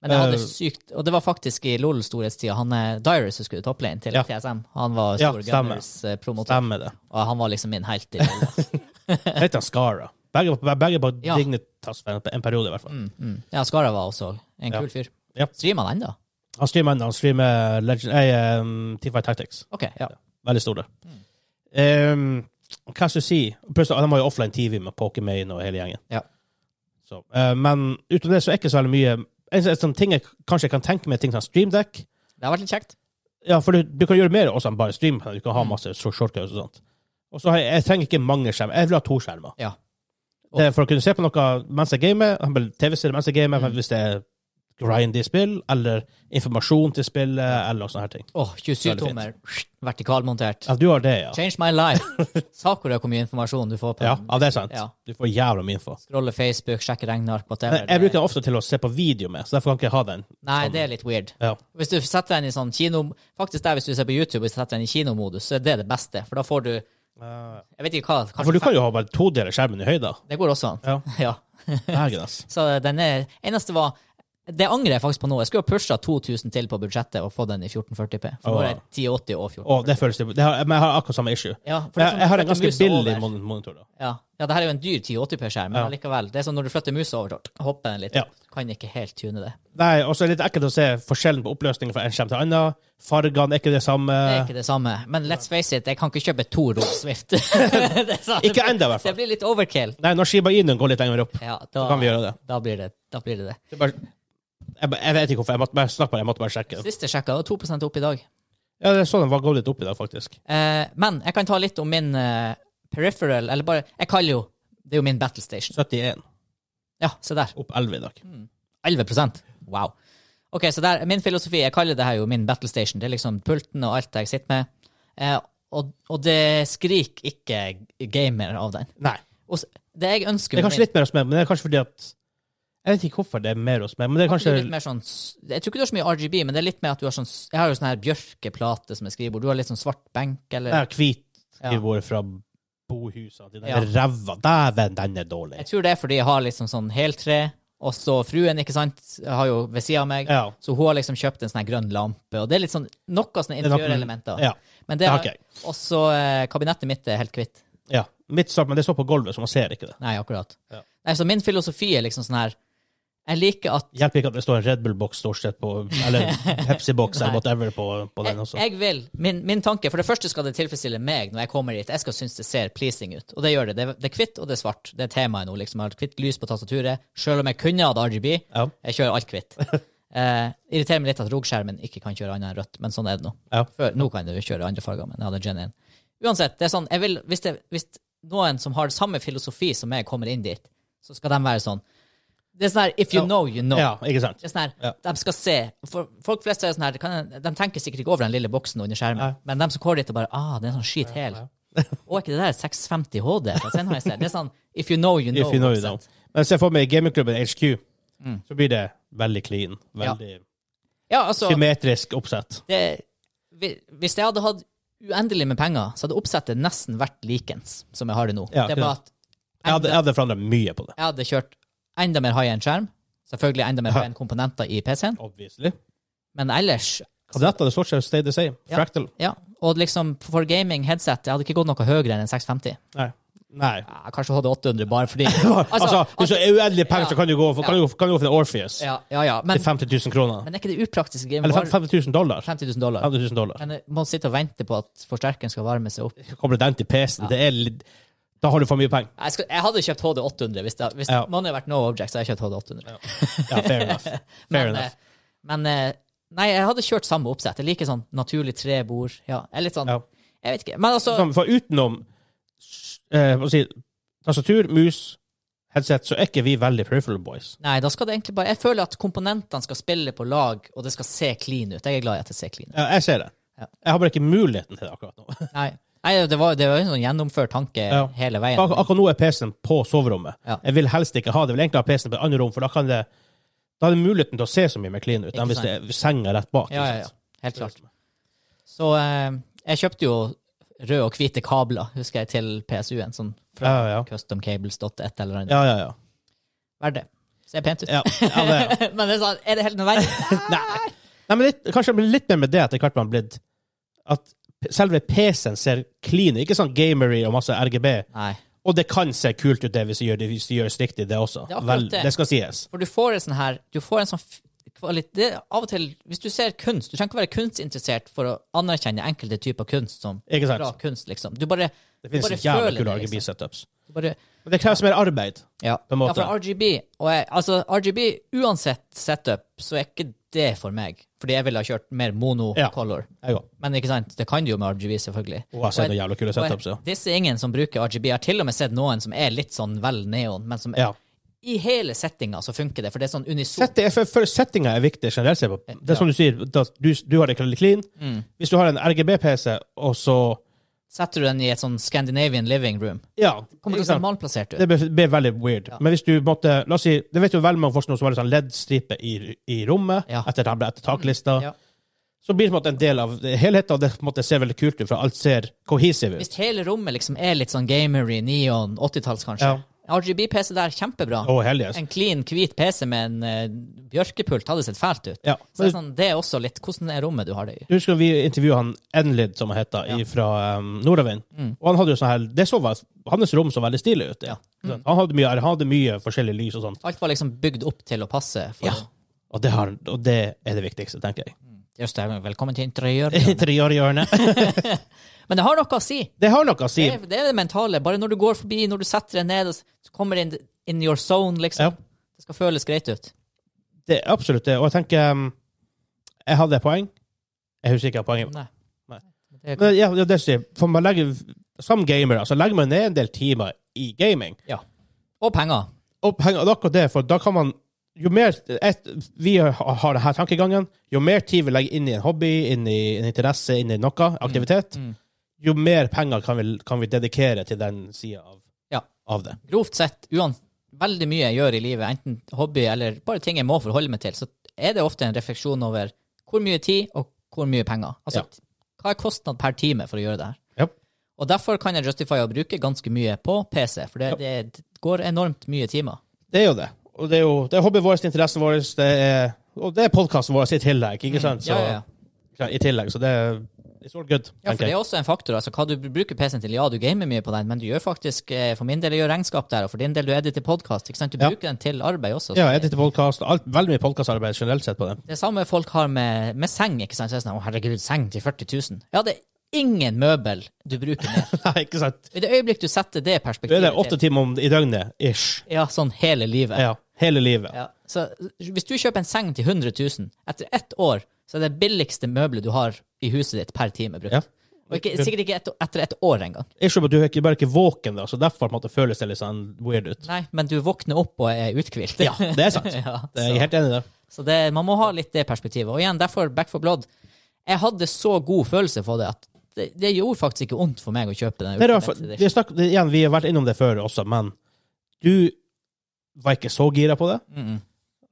S2: Men jeg hadde
S1: Eh,
S2: sykt Og det var faktisk i LOL storhetstida. Han eh, Dyrus som skulle topplane til
S1: Ja.
S2: TSM. Han var
S1: Ja,
S2: stor
S1: stemmer.
S2: Gunners-promotor.
S1: Stemmer det.
S2: Og han var liksom min helt
S1: *laughs*
S2: i LOL. da.
S1: Litt av Skara. Begge, begge på
S2: Ja.
S1: Dignitas for en, en periode, i hvert fall.
S2: Mm, mm. Ja, Skara var også en
S1: Ja.
S2: kul fyr.
S1: Ja.
S2: Streamer han ennå?
S1: Han streamer ennå. Han streamer Legend, eh, um, T5 Tactics.
S2: OK, ja. Mm.
S1: Veldig stor, det. Ehm, hva skal jeg si? Plutselig, de har jo offline TV med Pokémane og hele gjengen.
S2: Ja.
S1: Så, eh, men utenom det så er ikke så veldig mye en sånn- sånn ting jeg kanskje kan tenke meg, er ting som streamdeck.
S2: Det har vært litt kjekt.
S1: Ja, for du, du kan gjøre mer også enn bare stream. Du
S2: Mm.
S1: kan ha masse short- shortcuts og sånt. Og så har jeg, jeg trenger ikke mange skjermer. Jeg vil ha to skjermer.
S2: Ja.
S1: Det er for å kunne se på noe mens jeg gamer, for eksempel TV-serier mens jeg gamer,
S2: Mm.
S1: men hvis det er grindy spill, eller informasjon til spillet, eller sånne her ting.
S2: Åh, 27
S1: Veldig fint.
S2: tommer, vertikalmontert.
S1: Ja, du har det, ja.
S2: Change
S1: *laughs*
S2: my life. Sakura, hvor mye informasjon du får på
S1: Ja,
S2: den.
S1: ja det er sant.
S2: Ja.
S1: Du får jævla mye info.
S2: Scrolle Facebook, sjekke regneark, whatever.
S1: Men jeg bruker den ofte til å se på video med, så derfor kan jeg ikke ha den.
S2: Nei, det er litt weird.
S1: Ja.
S2: Hvis du setter den i sånn kino... Faktisk der, hvis du ser på YouTube, hvis du setter den i kinomodus, så er det det beste. For da får du Jeg vet ikke hva
S1: Eh. Ja,
S2: kanskje
S1: for du kan jo ha bare to deler skjermen i høyde.
S2: fem- Det går også an.
S1: Ja.
S2: *laughs* Ja.
S1: Dægen, ass.
S2: Så den er Eneste var Det angrer jeg faktisk på nå. Jeg skulle ha pusha 2000 til på budsjettet og få den i 1440P. For nå er det 1080 og 14.
S1: Å, det føles det, det har, Men jeg har akkurat samme issue.
S2: Ja, for det er
S1: Jeg,
S2: sånn-
S1: jeg har en
S2: flytter
S1: ganske
S2: musa
S1: billig
S2: over.
S1: mon- monitor, da.
S2: Ja. ja, det her er jo en dyr 1080p-skjerm, men allikevel. Det er sånn når du flytter musa over, så hopper den litt.
S1: Ja.
S2: Kan ikke helt tune det.
S1: Nei, og så er det litt ekkelt å se forskjellen på oppløsningen fra en skjerm til annen. Fargene er ikke det samme.
S2: Det er ikke det samme. Men let's face it, jeg kan ikke kjøpe to Roll Swift. *laughs* Det er sant.
S1: Ikke enda, i hvert fall.
S2: Det blir litt overkill.
S1: Nei, når Shiba Inun går litt lenger opp,
S2: Ja,
S1: så
S2: da,
S1: kan vi gjøre det.
S2: da blir det da blir det. det.
S1: det er bare, jeg, bare- jeg vet ikke hvorfor. Jeg måtte bare snakke bare, jeg måtte bare sjekke.
S2: Siste sjekka, det var 2 opp i dag.
S1: Ja, det er sånn den var gått litt opp i dag, faktisk.
S2: Eh, men jeg kan ta litt om min eh, peripheral, eller bare Jeg kaller jo Det er jo min battle station.
S1: 71.
S2: Ja, se der.
S1: Opp 11 i
S2: Mm.
S1: dag.
S2: 11 Wow. Ok, så der, Min filosofi Jeg kaller det her jo min battle station. Det er liksom pulten og alt jeg sitter med. Eh, og, og det skriker ikke gamer av den.
S1: Nei.
S2: Og s- det jeg ønsker
S1: Det er
S2: med
S1: kanskje litt mer hos meg, men det er kanskje fordi at Jeg vet ikke hvorfor det er mer hos meg, men det er
S2: min- det
S1: kanskje
S2: er litt mer sånn, s- Jeg tror ikke du har så mye RGB, men det er litt mer at du har sånn s- Jeg har jo sånn her bjørkeplate som er skrivebord. Du har litt sånn svart benk, eller
S1: Ja, hvit skrivebord fra bohusene. Den
S2: Ja.
S1: der ræva. Dæven, den er dårlig.
S2: Jeg tror det er fordi jeg har liksom sånn heltre, og så fruen, ikke sant, har jo ved sida av meg.
S1: Ja.
S2: Så hun har liksom kjøpt en sånn her grønn lampe, og det er litt sånn noe sånne
S1: Det er noe-
S2: interiørelementer.
S1: Ja.
S2: Men
S1: Det
S2: det
S1: har
S2: har
S1: ikke jeg.
S2: Og så eh, kabinettet mitt er helt hvitt.
S1: ja. Mitt står, men det står på gulvet, så man ser ikke det.
S2: Nei, akkurat.
S1: Ja.
S2: Nei, så min filosofi er liksom sånn her Jeg liker at
S1: Hjelper ikke at det står en Red Bull-boks stort sett på
S2: *laughs*
S1: Eller Pepsi-boks eller
S2: Nei.
S1: whatever på, på den
S2: jeg,
S1: også.
S2: jeg vil min, min tanke For det første skal det tilfredsstille meg når jeg kommer dit. Jeg skal synes det ser pleasing ut. Og det gjør det. Det, er- det er hvitt, og det er svart. Det er temaet nå. liksom. Jeg har hvitt lys på tastaturet. Selv om jeg kunne hatt RGB,
S1: Ja.
S2: jeg kjører
S1: *laughs*
S2: alt hvitt. Eh, irriterer meg litt at rogskjermen ikke kan kjøre annet enn rødt, men sånn er det nå.
S1: Ja.
S2: Før, nå kan du jo kjøre andre farger, men jeg hadde Gen 1. Uansett, det er sånn, jeg vil, hvis, det, hvis noen som har samme filosofi som meg, kommer inn dit, så skal de være sånn Det er sånn her If you
S1: Ja.
S2: know, you know.
S1: ja, ikke sant?
S2: Det er sånn her,
S1: Ja.
S2: De skal se. For folk flest er sånn her, det kan, de tenker sikkert ikke over den lille boksen under skjermen,
S1: Nei.
S2: men de som går dit og bare Ah, det er en sånn skit hæl. Å, er ikke det der 650 HD? For sen har jeg sett. Det er sånn If you know, you know.
S1: If you know you
S2: ikke
S1: know.
S2: sant? Mm.
S1: Men se for meg i gamingklubben HQ, så blir det veldig clean.
S2: Ja.
S1: Veldig
S2: Ja, altså,
S1: symmetrisk oppsett.
S2: det, vi- hvis jeg hadde hatt uendelig med penger, så hadde oppsettet nesten vært likens som jeg har det nå.
S1: Ja,
S2: det er bare at
S1: Jeg hadde, jeg hadde forandra mye på det.
S2: jeg hadde kjørt enda mer high-end-skjerm, selvfølgelig enda mer high-end-komponenter i PC-en,
S1: Obviously.
S2: men ellers
S1: Kabinettene det stort sett stay the same.
S2: Ja.
S1: Fractal.
S2: ja, og liksom for gaming headset, jeg hadde ikke gått noe høyere enn en 650.
S1: Nei. Nei.
S2: Ja, kanskje HD800 bare
S1: *laughs*
S2: fordi
S1: Altså, hvis du har uendelig penger,
S2: ja.
S1: så kan du gå for, kan du, gå- kan du gå for en Orpheus.
S2: ja, ja, ja, men,
S1: Til 50 000 kroner.
S2: men er ikke det upraktiske gamet
S1: Eller
S2: bare
S1: 50 000 dollar.
S2: 50 000 dollar?
S1: 50 000 dollar.
S2: Men jeg må sitte og vente på at forsterkeren skal varme seg opp.
S1: Kommer den til PC-en, det er litt Da har du for mye penger.
S2: Jeg, skal, jeg hadde kjøpt HD800 hvis det hvis
S1: Ja.
S2: må det ha vært no object, så hadde jeg kjøpt HD800.
S1: Ja,
S2: *laughs*
S1: fair enough. Fair
S2: men,
S1: enough.
S2: eh, men eh, Nei, jeg hadde kjørt samme oppsett. Jeg liker sånn naturlig trebord. Ja, jeg er litt sånn
S1: Ja.
S2: Jeg vet ikke. Men altså
S1: Sånn, For utenom eh, hva skal jeg si, tastatur, mus, headset, så er ikke vi veldig peripheral boys.
S2: Nei, da skal det egentlig bare Jeg føler at komponentene skal spille på lag, og det skal se clean ut. Jeg er glad i at det ser clean ut.
S1: Ja, jeg ser det.
S2: Ja.
S1: Jeg har bare ikke muligheten til det akkurat nå.
S2: Nei. Nei, det var, det var jo en sånn gjennomført tanke
S1: Ja.
S2: hele veien.
S1: Ak akkurat nå er PC-en på soverommet.
S2: Ja.
S1: Jeg vil helst ikke ha det. Jeg vil egentlig ha PC-en på et annet rom, for da kan det da er det muligheten til å se så mye mer clean ut
S2: Ikke
S1: enn hvis det er senga rett bak.
S2: ja, ja,
S1: ikke
S2: ja.
S1: sant?
S2: Helt klart. Så eh, jeg kjøpte jo røde og hvite kabler, husker jeg, til PSU-en. Sånn
S1: Ja, ja.
S2: customcables.et eller annet.
S1: ja, ja, ja.
S2: Verdt det. Ser pent ut.
S1: ja, ja det, er-
S2: *laughs* men det er, sånn, er det helt nødvendig?
S1: *laughs* Nei. Nei, men litt, kanskje det blir litt mer med det etter hvert man har blitt At p- selve PC-en ser clean ut. Ikke sånn gamery og masse RGB.
S2: Nei.
S1: Og det kan se kult ut, det, hvis det gjør- hvis det gjøres riktig, det også.
S2: Det er akkurat det.
S1: det. det skal sies.
S2: For du får en sånn her Du får en sånn f- kvalitet det, er Av og til, hvis du ser kunst Du trenger ikke være kunstinteressert for å anerkjenne enkelte typer kunst som
S1: Ikke sant?
S2: bra kunst, liksom. Du bare
S1: Det
S2: bare
S1: finnes jævlig
S2: føler
S1: kule
S2: det, liksom.
S1: RGB-setups.
S2: du bare,
S1: Men det kreves mer arbeid.
S2: ja.
S1: På en måte.
S2: ja, for RGB og jeg, Altså, RGB, uansett setup, så er ikke det for meg. Fordi jeg ville ha kjørt mer
S1: Ja.
S2: mono-color.
S1: Jeg òg.
S2: Men ikke sant, det kan du jo med RGB, selvfølgelig.
S1: Og jeg har sett
S2: Og jeg-
S1: noen jævlig kule
S2: og jeg-
S1: setups, ja.
S2: Disse er ingen som bruker RGB. Jeg har til og med sett noen som er litt sånn vel neon, men som
S1: ja.
S2: i hele settinga så funker det, for det er sånn unison.
S1: Sett- jeg- for, for settinga er viktig generelt sett. på- Det er som du sier, da, du, du har det clean.
S2: Mm.
S1: Hvis du har en RGB-PC, og så
S2: Setter du den i et sånn Scandinavian living room,
S1: Ja.
S2: kommer
S1: ikke
S2: du til å se
S1: sant?
S2: malplassert ut.
S1: Det blir, blir veldig weird. Men hvis du måtte La oss si Det vet jo veldig mange folk som har en sånn LED-stripe i, i rommet
S2: Ja.
S1: etter, tab- etter taklista.
S2: Ja.
S1: Så blir det på en måte en del av det- helheten, og det på en måte ser veldig kult ut, for alt ser cohesive ut.
S2: Hvis hele rommet liksom er litt sånn gamery, neon, 80-talls kanskje. RGB-PC der, kjempebra.
S1: Å, hell yes.
S2: En clean, hvit PC med en eh, bjørkepult hadde sett fælt ut.
S1: Ja.
S2: Så det er, sånn, det er også litt Hvordan er rommet du har det i?
S1: Du husker vi intervjuet han Enlid, som han heter,
S2: Ja. Mm.
S1: fra um, Nordavind. Og han hadde jo sånn her det så var, Hans rom så veldig stilig ut.
S2: Ja. Mm.
S1: Han, hadde mye, han hadde mye forskjellig lys og sånt.
S2: Alt var liksom bygd opp til å passe. For
S1: Ja. Og det, har, og det er det viktigste, tenker jeg.
S2: Just det, velkommen til
S1: *laughs*
S2: interiør.
S1: Interiørhjørnet.
S2: *laughs* Men det har noe å si.
S1: Det har noe å si.
S2: Det er, det er det mentale. Bare når du går forbi, når du setter deg ned og s- så kommer inn in your zone, liksom.
S1: Ja.
S2: Det skal føles greit ut.
S1: Det er absolutt det. Og jeg tenker um, Jeg hadde et poeng. Jeg husker ikke hva poenget var.
S2: Nei.
S1: Nei.
S2: Det er,
S1: Men ja, det er det jeg sier. For man legger, som gamer så legger man ned en del timer i gaming.
S2: og penger.
S1: Og penger, og det er akkurat det, for da kan man jo mer et, Vi har har denne tankegangen. Jo mer tid vi legger inn i en hobby, inn i en interesse, inn i noe, aktivitet,
S2: Mm.
S1: jo mer penger kan vi, kan vi dedikere til den sida av,
S2: Ja.
S1: av det.
S2: Grovt sett, uan, veldig mye jeg gjør i livet, enten hobby eller bare ting jeg må forholde meg til, så er det ofte en refleksjon over hvor mye tid og hvor mye penger. Altså,
S1: Ja.
S2: hva er kostnad per time for å gjøre det her?
S1: Ja.
S2: Og derfor kan jeg justify å bruke ganske mye på PC, for det, det går enormt mye timer.
S1: Det er jo det. Og det er jo det er hobbyen vår, det er interessen vår, det er, og det er podkasten vår i tillegg. ikke sant? Så,
S2: Mm. ja, ja, ja.
S1: I tillegg, så det er It's all good,
S2: Ja, for
S1: tenker
S2: det
S1: jeg.
S2: er også en faktor. altså Hva du bruker PC-en til. Ja, du gamer mye på den, men du gjør faktisk eh, for min del jeg gjør regnskap der, og for din del du editer podkast. ikke sant? Du
S1: Ja.
S2: bruker den til arbeid også. så
S1: Ja,
S2: det,
S1: edite podkast. Veldig mye podkastarbeid generelt sett på det. *laughs*
S2: det samme folk har med, med seng. ikke sant? Så er det sånn, å herregud, seng til 40 000. Ja, det er ingen møbel du bruker mer.
S1: Nei, ikke sant?
S2: I det øyeblikk du setter det
S1: Det er
S2: perspektivet
S1: det åtte timer om, i døgnet, ish.
S2: Ja, sånn hele livet.
S1: Ja, hele livet.
S2: Ja. Så hvis du kjøper en seng til 100 000, etter ett år så er det billigste møbelet du har i huset ditt per time brukt.
S1: Ja.
S2: Og ikke, sikkert ikke et, etter et år engang.
S1: Ikke om at du er ikke, bare ikke våken, da, så derfor på en måte, føles det litt sånn weird ut.
S2: Nei, men du våkner opp og er uthvilt.
S1: Ja, det er sant.
S2: *laughs* Ja,
S1: Det er jeg
S2: så-
S1: er helt enig i det.
S2: Så det, man må ha litt det perspektivet. Og igjen, derfor Back for Blood. Jeg hadde så god følelse for det at det, det gjorde faktisk ikke vondt for meg å kjøpe
S1: Det
S2: den.
S1: er i hvert fall- vi, har snakket, igjen, vi har vært innom det før også, men du var ikke så gira på det.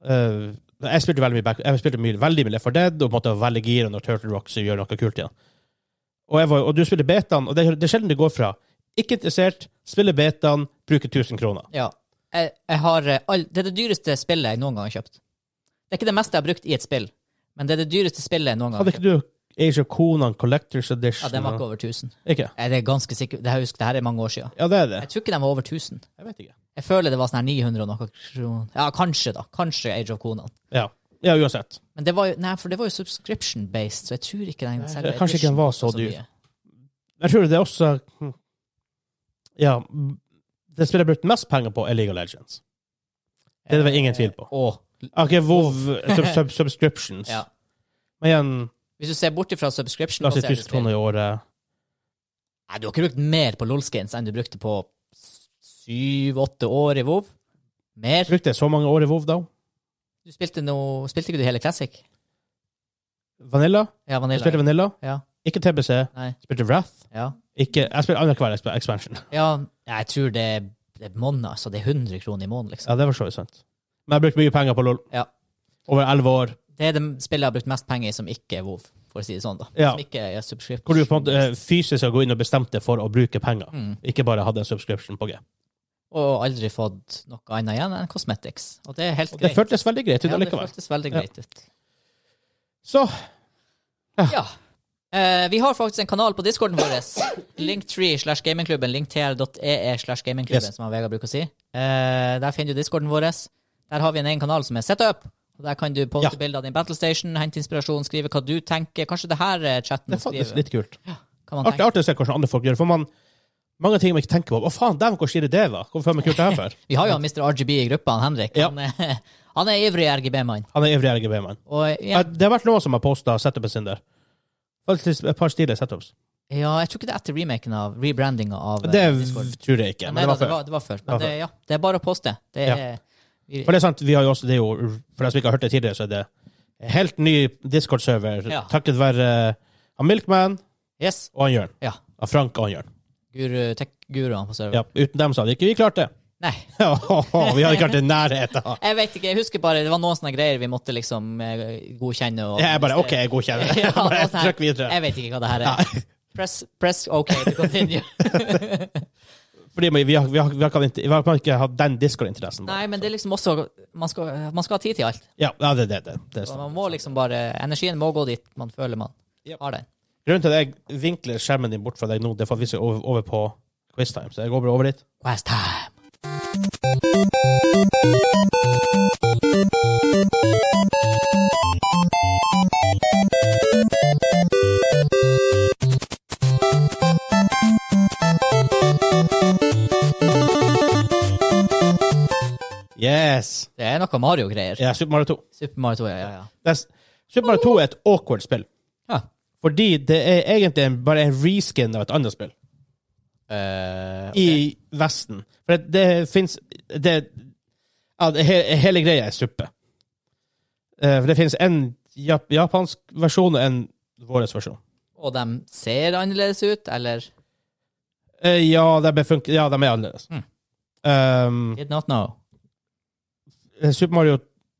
S1: Eh, jeg spilte veldig mye back, jeg spilte mye, veldig mye Left 4 Dead og på en måte var veldig gira når Turtle Rock så gjør noe kult igjen. Og, jeg var, og du spiller betaen, og det, det er sjelden det går fra ikke interessert, spiller betaen, bruker 1000 kroner.
S2: Ja. Jeg, jeg har eh, all, det er det dyreste spillet jeg noen gang har kjøpt. Det er ikke det meste jeg har brukt i et spill, men det er det dyreste spillet jeg noen gang har
S1: Hadde
S2: kjøpt.
S1: ikke du Age of Conan Collectors Edition?
S2: Ja, den var ikke over 1000.
S1: Ikke?
S2: Jeg er ganske sikker, det, her- husk, det her er mange år siden.
S1: Ja, det er det.
S2: Jeg tror ikke den var over 1000.
S1: Jeg vet ikke.
S2: Jeg føler det var sånn her 900 og noe kroner. Ja, kanskje, da. Kanskje Age of Conan.
S1: Ja, ja uansett.
S2: Men det var jo, nei, for det var jo subscription-based, så jeg tror ikke den selve
S1: kanskje ikke den
S2: edition
S1: var så
S2: koster
S1: dyr.
S2: mye.
S1: Jeg tror det er også hm. Ja, m- det spillet jeg har brukt mest penger på, er League of Legends. Det er det vel ingen tvil på.
S2: Og
S1: Ok, WoW sub,
S2: *laughs*
S1: sub, subscriptions.
S2: Ja.
S1: Men igjen,
S2: Hvis du ser bort ifra
S1: la oss si
S2: subscription-baserte
S1: 1000
S2: spill
S1: kroner i året.
S2: Nei, Du har ikke brukt mer på LOL-skins enn du brukte på syv-åtte år i WoW. Mer.
S1: Brukte jeg så mange år i WoW, da?
S2: Du spilte noe Spilte ikke du hele Classic?
S1: Vanilla?
S2: Ja,
S1: Jeg
S2: Vanilla.
S1: spilte Vanilla.
S2: Ja.
S1: Ikke TBC.
S2: Nei.
S1: Spilte Wrath.
S2: Ja.
S1: Ikke, jeg spiller annenhver exp-
S2: *laughs*
S1: expansion.
S2: ja, jeg tror det er, det er måned, altså. Det er 100 kroner i måneden, liksom.
S1: Ja, det var så vidt sant. Men jeg brukte mye penger på LOL.
S2: Ja.
S1: Over elleve år.
S2: Det er det spillet jeg har brukt mest penger i som ikke er WoW, for å si det sånn, da.
S1: Ja.
S2: Som ikke er subscription.
S1: Hvor du på en måte eh, fysisk har gått inn og bestemt deg for å bruke penger.
S2: Mm.
S1: Ikke bare hadde en subscription på G.
S2: Og aldri fått noe annet igjen enn Cosmetics. Og det er helt
S1: Og det
S2: greit.
S1: føltes veldig greit ut
S2: ja, det
S1: allikevel.
S2: føltes veldig
S1: Ja.
S2: greit ut.
S1: Så
S2: Ja. Eh, vi har faktisk en kanal på discorden vår. Linktree slash gamingklubben. Linktr.ee slash gamingklubben,
S1: Yes.
S2: som han Vegard bruker å si. Eh, der finner du discorden vår. Der har vi en egen kanal som er setup. Og der kan du poste
S1: Ja.
S2: bilder av din battlestation, hente inspirasjon, skrive hva du tenker. Kanskje det her eh, chatten
S1: det er
S2: skriver.
S1: faktisk litt kult.
S2: Kan man
S1: Artig,
S2: tenke.
S1: artig å se hvordan andre folk gjør det. For man, mange ting man ikke tenker på. Å faen, dæven, hvor stilig det var. Hvorfor har man ikke gjort det
S2: *laughs*
S1: her før?
S2: Vi har jo han Mr. RGB i gruppa, han Henrik.
S1: Ja.
S2: Han, er, *laughs* han er ivrig RGB-mann.
S1: Han er ivrig RGB-mann.
S2: Og
S1: Ja,
S2: jeg,
S1: Det har vært noen som har posta setupen sin der. Faktisk et par stilige setups.
S2: ja, jeg tror ikke det er etter remaken av rebrandinga av eh,
S1: Det
S2: Discord.
S1: tror jeg ikke.
S2: Men
S1: Men det var
S2: det
S1: før.
S2: var, det var før.
S1: var
S2: Men det, ja, det er bare å poste. Det
S1: Ja.
S2: er, vi,
S1: For det er sant, vi har jo også, det er jo, for de som ikke har hørt det tidligere, så er det en helt ny Discord-server
S2: Ja.
S1: takket være han Milkman
S2: yes.
S1: og han Jørn.
S2: Ja.
S1: Han Frank og han Jørn.
S2: Guru, tech-guruene på server.
S1: Ja, uten dem så hadde ikke vi klart det. *laughs*
S2: Nei,
S1: vi hadde ikke vært i nærheten av
S2: jeg vet ikke. Jeg husker bare det var noen sånne greier vi måtte liksom eh, godkjenne. Og, *laughs*
S1: Jeg bare OK, jeg godkjenner.
S2: Ja,
S1: Jeg bare
S2: det var sånn her.
S1: trykk videre.
S2: Jeg vet ikke hva det her er. Press, press OK to continue. *laughs*
S1: Fordi vi har, vi har, vi har, kan ikke- vi har kan ikke hatt den Discord-interessen.
S2: Nei, men det er liksom også Man skal, man skal ha tid til alt.
S1: Ja, ja, det det, det, det er
S2: Så
S1: sant.
S2: man må liksom bare Energien må gå dit man føler man
S1: Yep.
S2: har den.
S1: Grunnen til at jeg vinkler skjermen din bort fra deg nå, det er for at vi skal over, over på quiztime. Så jeg går bare over dit.
S2: Quest time.
S1: Yes!
S2: Det er noe Mario-greier.
S1: Ja, Super Mario 2.
S2: Super Mario 2, ja, ja, ja.
S1: Det er, Super Mario 2 er et awkward spill.
S2: ja.
S1: Fordi det er egentlig en, bare en reskin av et annet spill.
S2: Eh,
S1: I Vesten. For det, det fins det, ja, det, he, Hele greia er suppe. Eh, for det fins en jap japansk versjon og en vår versjon.
S2: og de ser annerledes ut, eller
S1: Eh, ja, de er, funk- ja, de er annerledes.
S2: Mm.
S1: Um,
S2: Did not know.
S1: Super Mario,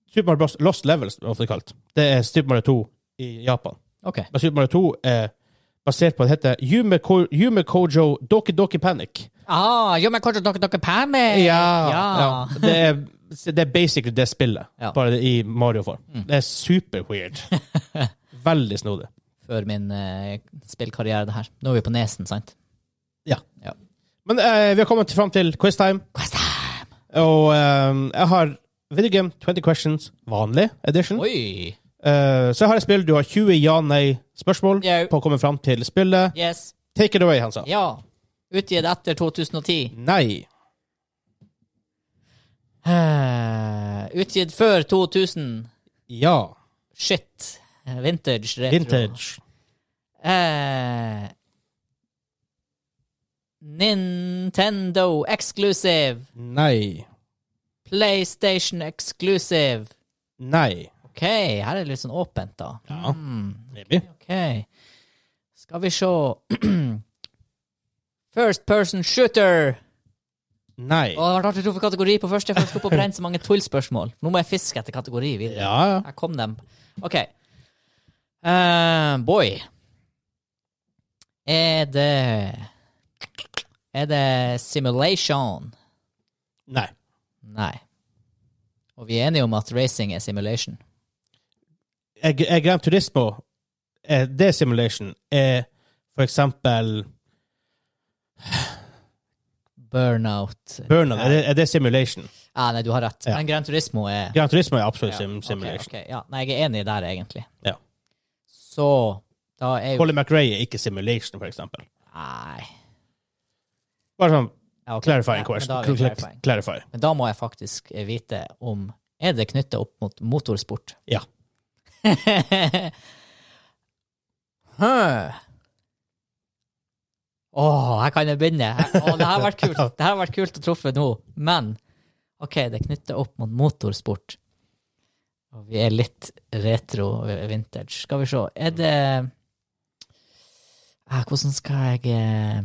S1: Super Mario Bros. Lost Levels, blir det ofte kalt. Det er Super Mario 2 i Japan.
S2: OK.
S1: Men Super Mario 2 er eh, basert på det heter Yume, Ko Yume Kojo Doki Doki Panic.
S2: Ah, jo, men kanskje dere, dere panic?
S1: Ja.
S2: Eh, ja.
S1: Det, er, det er basically det spillet,
S2: Ja. Mm.
S1: bare det i Mario-form. Det er super weird. Veldig snodig.
S2: Før min eh, spillkarriere, det her. Nå er vi på Nesen, sant?
S1: Men eh, vi har kommet fram til quiztime,
S2: Quest time!
S1: og eh, jeg har Video Game 20 Questions, vanlig edition.
S2: Oi!
S1: Eh, så jeg har et spill. Du har 20 ja-nei-spørsmål
S2: Yo.
S1: på å komme fram til spillet.
S2: Yes.
S1: Take it away, Hansa.
S2: Ja. Utgitt etter 2010.
S1: Nei.
S2: Eh, utgitt før 2000.
S1: Ja.
S2: Shit. Eh, Vintage. Retro.
S1: Vintage.
S2: Eh, Nintendo exclusive.
S1: Nei.
S2: PlayStation exclusive.
S1: Nei.
S2: OK, her er det litt sånn åpent, da.
S1: Ja.
S2: Mm.
S1: Maybe.
S2: OK. Skal vi se *clears throat* First person shooter.
S1: Nei.
S2: Å, det var rart du tok for kategori på første, for jeg skulle på å brenne så mange tullspørsmål. Nå må jeg fiske etter kategori videre.
S1: Ja, ja.
S2: Her kom dem. OK. Eh, boy. Er det Er det simulation?
S1: Nei.
S2: Nei. Og vi er enige om at racing er simulation.
S1: Jeg, jeg Gran Turismo, eh, det simulation, er for eksempel
S2: Burnout
S1: Burnout. Er det, er det simulation?
S2: Ah, nei, du har rett.
S1: Ja.
S2: Men Gran Turismo er
S1: Gran Turismo er absolutt
S2: Ja,
S1: sim
S2: ok,
S1: simulation.
S2: ok, ja. Nei, jeg er enig der, egentlig.
S1: Ja.
S2: Så da er jo
S1: Colin McRae er ikke simulation, for eksempel.
S2: Nei.
S1: Bare sånn
S2: Ja, ok.
S1: clarifying
S2: Ja,
S1: question.
S2: Men da, er vi
S1: Cl- cl-
S2: clarifying.
S1: Clarify.
S2: men da må jeg faktisk eh, vite om Er det knyttet opp mot motorsport?
S1: Ja.
S2: *laughs* Hæ? Å, her kan jeg begynne. Å, det her har vært kult. Det her har vært kult å truffe nå. Men OK, det er knyttet opp mot motorsport. Og vi er litt retro-vintage. Skal vi se. Er det ah, Hvordan skal jeg eh,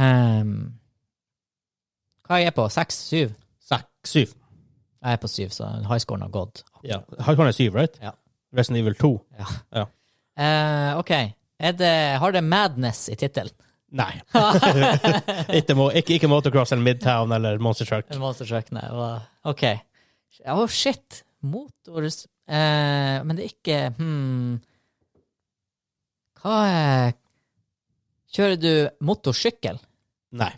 S2: ehm, Hva er jeg på? Seks? Syv?
S1: Seks, syv.
S2: Jeg er på syv, så high scoren har gått.
S1: Ja. Hardcore er syv, right?
S2: Ja.
S1: Resident Evil 2.
S2: Eh, OK. Er det, har det Madness i tittelen? *laughs*
S1: Nei. ikke, må, ikke, ikke Motocross eller Midtown eller Monster Truck.
S2: En monstertruck, nei. hva- OK. Å, shit! Motors eh, Men det er ikke hmm. Hva er Kjører du motorsykkel?
S1: Nei.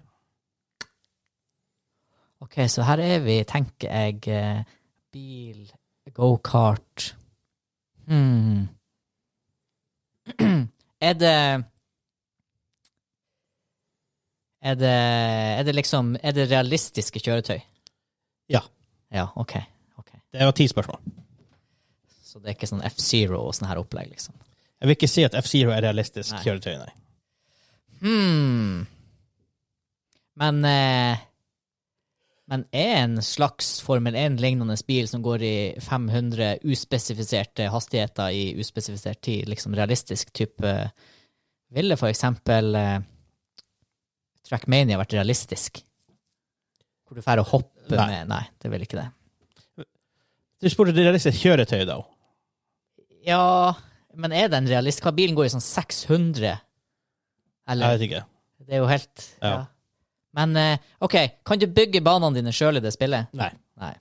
S2: OK, så her er vi, tenker jeg, eh, bil, gokart hmm. *clears throat* Er det er det, er det liksom Er det realistiske kjøretøy?
S1: Ja.
S2: Ja, OK. ok.
S1: Det var ti spørsmål.
S2: Så det er ikke sånn F-Zero og sånn her opplegg, liksom.
S1: Jeg vil ikke si at F-Zero er realistisk
S2: Nei.
S1: kjøretøy, nei.
S2: Hmm. Men eh, Men er en slags Formel 1-lignende bil som går i 500 uspesifiserte hastigheter i uspesifisert tid, liksom realistisk type Ville for eksempel eh, Trackmania vært realistisk? Hvor du får å hoppe
S1: Nei.
S2: med Nei, det vil ikke det.
S1: Du spurte det realistiske kjøretøy, da.
S2: Ja, men er den realist? Hva bilen går i sånn 600? Eller?
S1: Jeg vet ikke.
S2: Det er jo helt
S1: Ja.
S2: ja. Men eh, OK, kan du bygge banene dine sjøl i det spillet?
S1: Nei.
S2: Nei.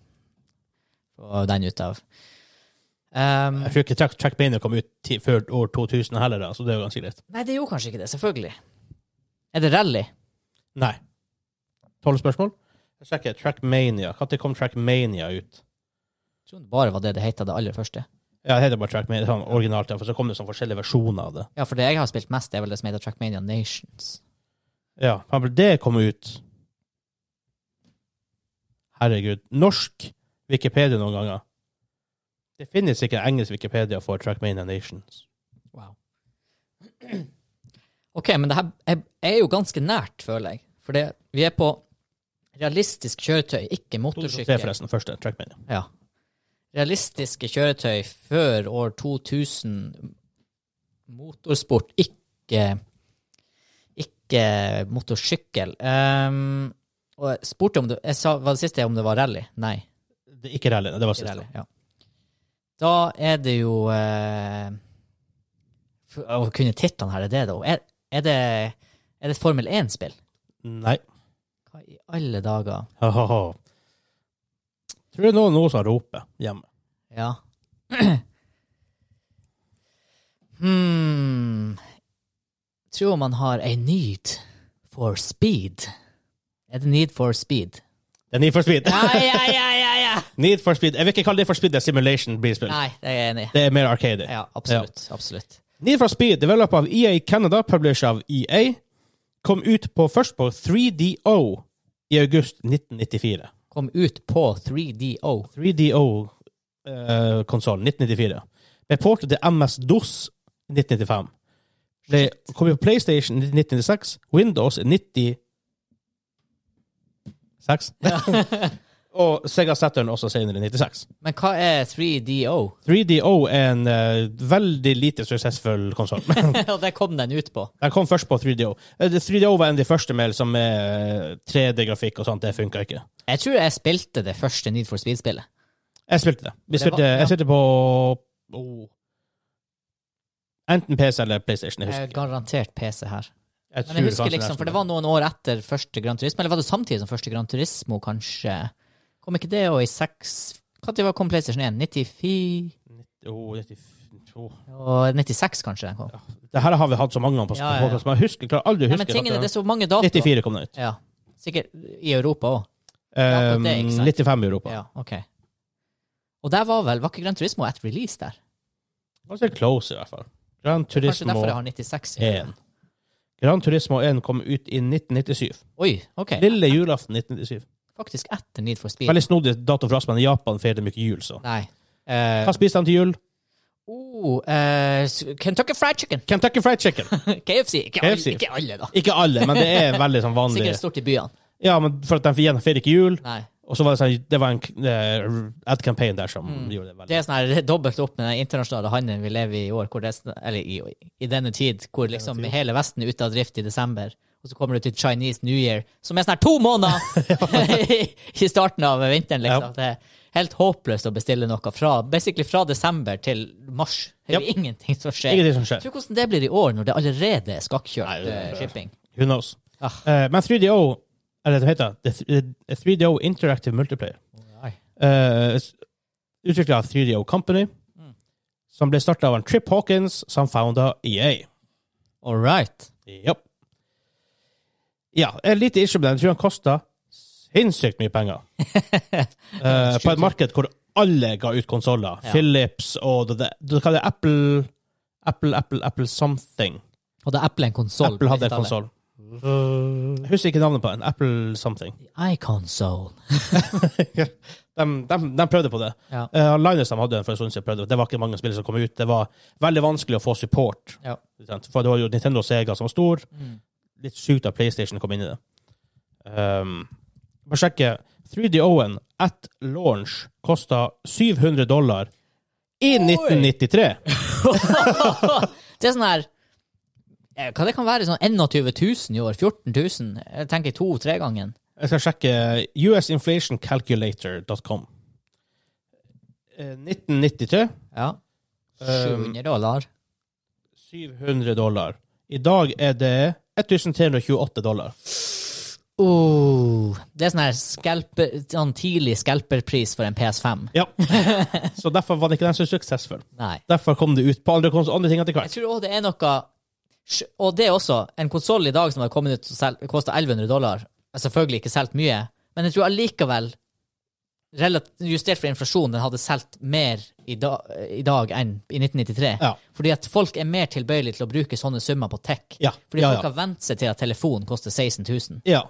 S2: Få den ut av. Um,
S1: Jeg tror ikke Track, Trackmania kom ut ti, før år 2000 heller, da, så det er jo ganske greit.
S2: nei, det gjorde kanskje ikke det. Selvfølgelig. Er det rally?
S1: Nei. Tolv spørsmål? Jeg sjekker. Trackmania. Når kom Trackmania ut?
S2: Jeg tror det bare var det det het det aller første.
S1: Ja, det heter bare Trackmania, sånn originalt, ja, for så kom det sånn forskjellige versjoner av det.
S2: Ja, for det jeg har spilt mest, det er vel det som heter Trackmania Nations.
S1: Ja, for eksempel det kom ut Herregud. Norsk Wikipedia noen ganger. Det finnes ikke en engelsk Wikipedia for Trackmania Nations.
S2: Wow. *clears throat* OK, men det her er, er jo ganske nært, føler jeg. For det, vi er på realistisk kjøretøy, ikke
S1: 2003
S2: motorsykkel.
S1: forresten, første Trackmania.
S2: Ja. Realistiske kjøretøy før år 2000. Motorsport, ikke ikke motorsykkel. Ehm, og jeg spurte om det, jeg sa, var det siste om det var rally. Nei.
S1: Det, ikke rally, det var
S2: Ikke rally,
S1: siste.
S2: ja. Da er det jo eh, for- Å kunne titlene her, er det det, da? Er, er, det, er det et Formel 1-spill?
S1: Nei.
S2: Hva i alle dager?
S1: Hahaha. Tror det er noen, noen som roper hjemme.
S2: Ja. *clears throat* hmm Tror man har ei need for speed. Er det need for speed?
S1: Det er Need for Speed.
S2: Nei, ja, ja, ja, ja.
S1: *laughs* Need for Speed. Jeg vil ikke kalle det for Speed, det er Simulation Breezespill.
S2: *laughs* Nei, det er jeg enig i.
S1: Det er mer arcade.
S2: Ja, absolutt. absolutt.
S1: Need for Speed, developer av EA Canada, publisher av EA, kom ut på, først på 3DO i august 1994.
S2: Kom ut på 3DO.
S1: 3DO-konsollen 1994. Ble portet til MS-DOS 1995. Ble, kom ut på PlayStation 1996, Windows 96 *laughs* og Sega Saturn også senere 96.
S2: Men hva er 3DO?
S1: *laughs* 3DO er en eh, veldig lite suksessfull konsoll.
S2: *laughs* Og det kom den ut på.
S1: *laughs* Den kom først på 3DO. Eh, det- 3DO var en av de første med liksom, eh, 3D-grafikk og sånt. Det funka ikke.
S2: Jeg tror jeg spilte det første Need for Speed-spillet.
S1: Jeg spilte det. Vi
S2: Det var-
S1: spilte,
S2: ja.
S1: Jeg spilte på oh, Enten PC eller PlayStation. Jeg
S2: Jeg
S1: husker
S2: er
S1: ikke.
S2: Garantert PC her.
S1: Jeg
S2: Men jeg
S1: tror
S2: husker
S1: kanskje
S2: liksom,
S1: nesten
S2: for det var noen år etter første Gran Turismo, eller var det samtidig som første Gran Turismo, kanskje? Kom ikke det og i seks Når kom PlayStation 1? 94
S1: Jo, 95 jo.
S2: og 96, kanskje? den kom.
S1: Det her har vi hatt så mange ganger på
S2: Ja, ja, ja.
S1: podcast, men jeg husker, klarer aldri å
S2: Nei,
S1: huske.
S2: men
S1: at
S2: tingene, det
S1: det-
S2: er så mange datoer.
S1: 94 kom det ut.
S2: Ja. Sikkert i Europa òg.
S1: Eh,
S2: akkurat det, ikke sant?
S1: 95 i Europa.
S2: Ja, OK. Og der var vel Var ikke Gran Turismo et release der?
S1: Ganske close, i hvert fall. Gran
S2: Kanskje derfor jeg
S1: Turismo
S2: har 96?
S1: 1. Gran Turismo 1 kom ut i 1997.
S2: Oi, OK.
S1: Lille julaften 1997.
S2: Faktisk etter Need for Speed.
S1: Veldig snodig dato for oss, men i Japan feirer de ikke jul, så.
S2: Nei. Uh,
S1: Hva spiser de til jul?
S2: oh, eh, Kentucky Fried Chicken. *laughs*
S1: Kentucky Fried Chicken.
S2: KFC. Ikke,
S1: KFC.
S2: Alle, ikke alle, da.
S1: Ikke alle, men det er veldig sånn vanlig.
S2: Sikkert stort i byene.
S1: Ja, men for at de igjen feirer ikke jul,
S2: Nei.
S1: Og så var det sånn, det var en eh, ad-campaign der som
S2: Mm.
S1: gjorde det veldig
S2: Det er sånn her dobbelt opp med den internasjonale handelen vi lever i i år, hvor resten, eller i, i denne tid, hvor liksom
S1: tid.
S2: hele Vesten er ute av drift i desember. Og så kommer du til Chinese New Year, som er sånn her to
S1: *laughs*
S2: måneder i starten av vinteren.
S1: Ja.
S2: liksom. Det er helt håpløst å bestille noe fra basically fra desember til mars. Det er jo ingenting som skjer.
S1: Ingenting som skjer.
S2: Jeg tror hvordan det blir i år, når det allerede er
S1: Nei,
S2: skakkjørt
S1: det
S2: eh,
S1: er-
S2: shipping.
S1: Who knows?
S2: Ah.
S1: Eh, men 3DO, eller det heter det, eh, er 3DO Interactive Multiplayer, uh, utvikla av 3DO Company,
S2: Mm.
S1: som ble starta av en Trip Hawkins, som E founda EA.
S2: All right.
S1: Japp. Ja, et lite issue med den. Jeg tror han kosta sinnssykt mye penger. Eh, på et marked hvor alle ga ut konsoller.
S2: Ja.
S1: Philips og det, det, det, hva er det Apple Apple, Apple, Apple something.
S2: Og da Apple en konsoll.
S1: Apple hadde en konsoll. Jeg husker ikke navnet på den. Apple something.
S2: iConsole.
S1: *laughs* De, de, de prøvde på det.
S2: Ja.
S1: Eh, Linus de hadde en for en stund siden prøvde. Det var ikke mange spill som kom ut. Det var veldig vanskelig å få support.
S2: Ja.
S1: ikke sant? For det var jo Nintendo og Sega som var stor.
S2: Mm.
S1: Litt sjukt at PlayStation kom inn i det. Um, bare sjekke. 3DO-en at launch kosta 700 dollar i
S2: Oi!
S1: 1993.
S2: det er sånn her eh, Hva det kan være? Sånn 21 000 i år? 14 000? Jeg tenker to-tre gangen.
S1: Jeg skal sjekke usinflationcalculator.com. Eh, 1993.
S2: Ja.
S1: Um,
S2: Ehm. 700 dollar.
S1: 700 dollar. I dag er det 1328 dollar.
S2: Oh, det er sånn her skalper, sånn tidlig skalperpris for en PS5. *laughs*
S1: Ja. Så derfor var det ikke den så suksessfull.
S2: Nei.
S1: Derfor kom det ut på andre, kons- andre ting etter
S2: Jeg
S1: hvert.
S2: tror òg det er noe sj- Og det er også en konsoll i dag som har kommet ut og kosta 1100 dollar. Jeg har Selvfølgelig ikke solgt mye, men jeg tror allikevel relat- Justert for inflasjon, den hadde solgt mer i, da, i dag enn i 1993.
S1: Ja.
S2: Fordi at folk er mer tilbøyelige til å bruke sånne summer på tech.
S1: Ja.
S2: Fordi
S1: ja,
S2: folk
S1: ja.
S2: har vent seg til at telefonen koster 16 000.
S1: ja.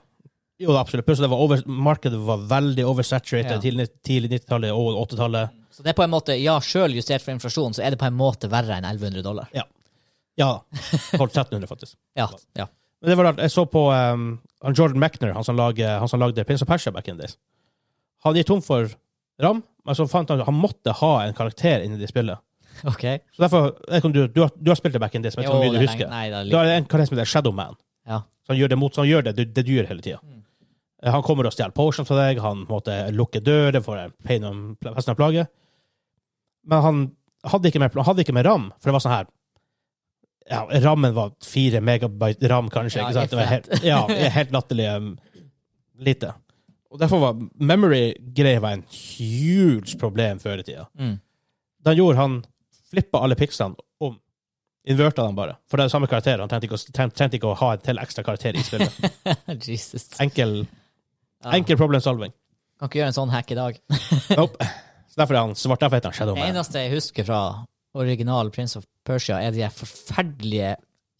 S1: Jo, da, absolutt. Plutselig var over, markedet var veldig oversaturated
S2: Ja.
S1: tidlig, tidlig 90-tallet og 80-tallet.
S2: Så det er på en måte, ja, sjøl justert for inflasjon, så er det på en måte verre enn 1100 dollar.
S1: Ja. 1200-1300, faktisk.
S2: Ja, ja.
S1: Men det var rart. Jeg så på um, han Jordan Mechner, han som, lager, han som lagde Prince of Persia back in the days. Han gikk tom for ram, men så fant han at han måtte ha en karakter inni det spillet.
S2: OK.
S1: Så derfor, jeg vet ikke om du, du, har, du har spilt det back in this, men jeg vet ikke om
S2: Jo, det
S1: du
S2: er
S1: husker.
S2: lenge- Nei, det er
S1: Da
S2: litt,
S1: er det en karakter som heter Shadow Man.
S2: Ja. *laughs*
S1: Så han gjør det mot, så han gjør det, det, det dyr hele tida.
S2: Mm.
S1: Han kommer og stjeler potions fra deg, han måtte lukke dører for en pain om- resten av plaget. Men han hadde ikke mer, han hadde ikke mer ram, for det var sånn her ja, Rammen var fire megabyte ram, kanskje.
S2: Ja,
S1: ikke sant? Det var
S2: if
S1: helt, ja, helt latterlig um, lite. Og Derfor var memory-greia var en huge problem før i tida.
S2: mm.
S1: Da gjorde han flippa alle pikslene om. Inverta dem bare. For det er samme karakter. Han trengte ikke, å- treng- trengte ikke å ha en til ekstra karakter i spillet.
S2: *laughs* Jesus.
S1: Enkel,
S2: Ja.
S1: enkel problem solving.
S2: Kan ikke gjøre en sånn hack i dag.
S1: Nope. Så derfor er han svart. Derfor heter han Shadow
S2: Det
S1: Man.
S2: eneste jeg husker fra original Prince of Persia, er de her forferdelige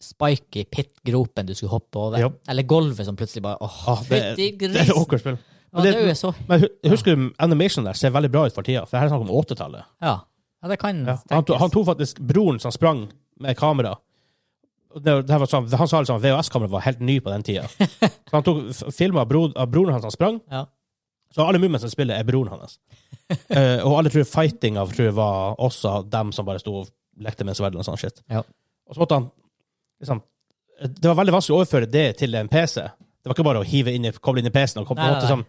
S2: spiky pit-gropene du skulle hoppe over.
S1: Ja.
S2: Eller gulvet som plutselig bare Åh,
S1: Ah, det, er-
S2: fytti
S1: det er et
S2: grisen!
S1: awkward spill.
S2: Ja, det er jo så
S1: Men hu- husker du animation der ser veldig bra ut for tida? For her er det snakk om 80-tallet.
S2: Ja. ja, det kan
S1: Ja. Han, to-
S2: tenkes.
S1: han tok faktisk broren som sprang med kamera. Og Det, det her var sånn, han sa liksom VHS-kamera var helt ny på den
S2: *laughs*
S1: tida. Så han tok filma av, bro, av broren hans som sprang,
S2: Ja.
S1: Så alle mummene som spiller, er broren
S2: *laughs*
S1: hans. Eh, og alle tror fightinga tror jeg var også dem som bare sto og lekte med sverd og sånn shit.
S2: Ja.
S1: Og så måtte han liksom Det var veldig vanskelig å overføre det til en PC. Det var ikke bare å hive inn i, koble inn i PC-en. og koble-
S2: Nei, nei,
S1: måtte liksom-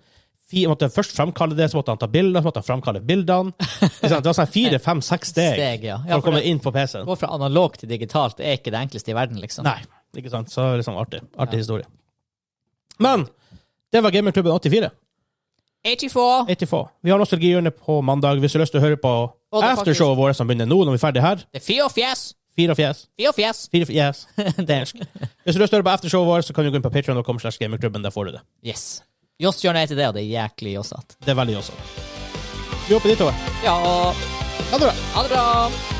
S1: fi- måtte først framkalle det, så måtte han ta bilder, så måtte han framkalle
S2: *laughs*
S1: bildene. Ikke sant? Det var sånn fire, fem, seks steg,
S2: Steg, ja.
S1: for
S2: Ja,
S1: å
S2: for
S1: komme
S2: det
S1: inn på PC-en.
S2: går fra analog til digitalt det er ikke det enkleste i verden, liksom.
S1: Nei, ikke sant? Så liksom artig. Artig
S2: Ja.
S1: historie. Men det var Gamerklubben 84.
S2: 84!
S1: 84. Vi har nostalgihjørnet på mandag. Hvis du har lyst til å høre på
S2: Og det er
S1: aftershowet vårt som begynner nå, når vi er ferdig her
S2: Det er fire og fjes!
S1: Fire og fjes.
S2: Fire og fjes!
S1: Fire og
S2: *laughs*
S1: fjes. Dansk. Hvis du har lyst til å høre på aftershowet vårt, så kan du gå inn på patreon.com slash gamingklubben. Der får du det.
S2: Yes. Joss gjør nei til det, og det er jæklig jossete.
S1: Det er veldig også. Vi hopper dit over.
S2: Ja, og
S1: Ha det bra.
S2: ha det bra!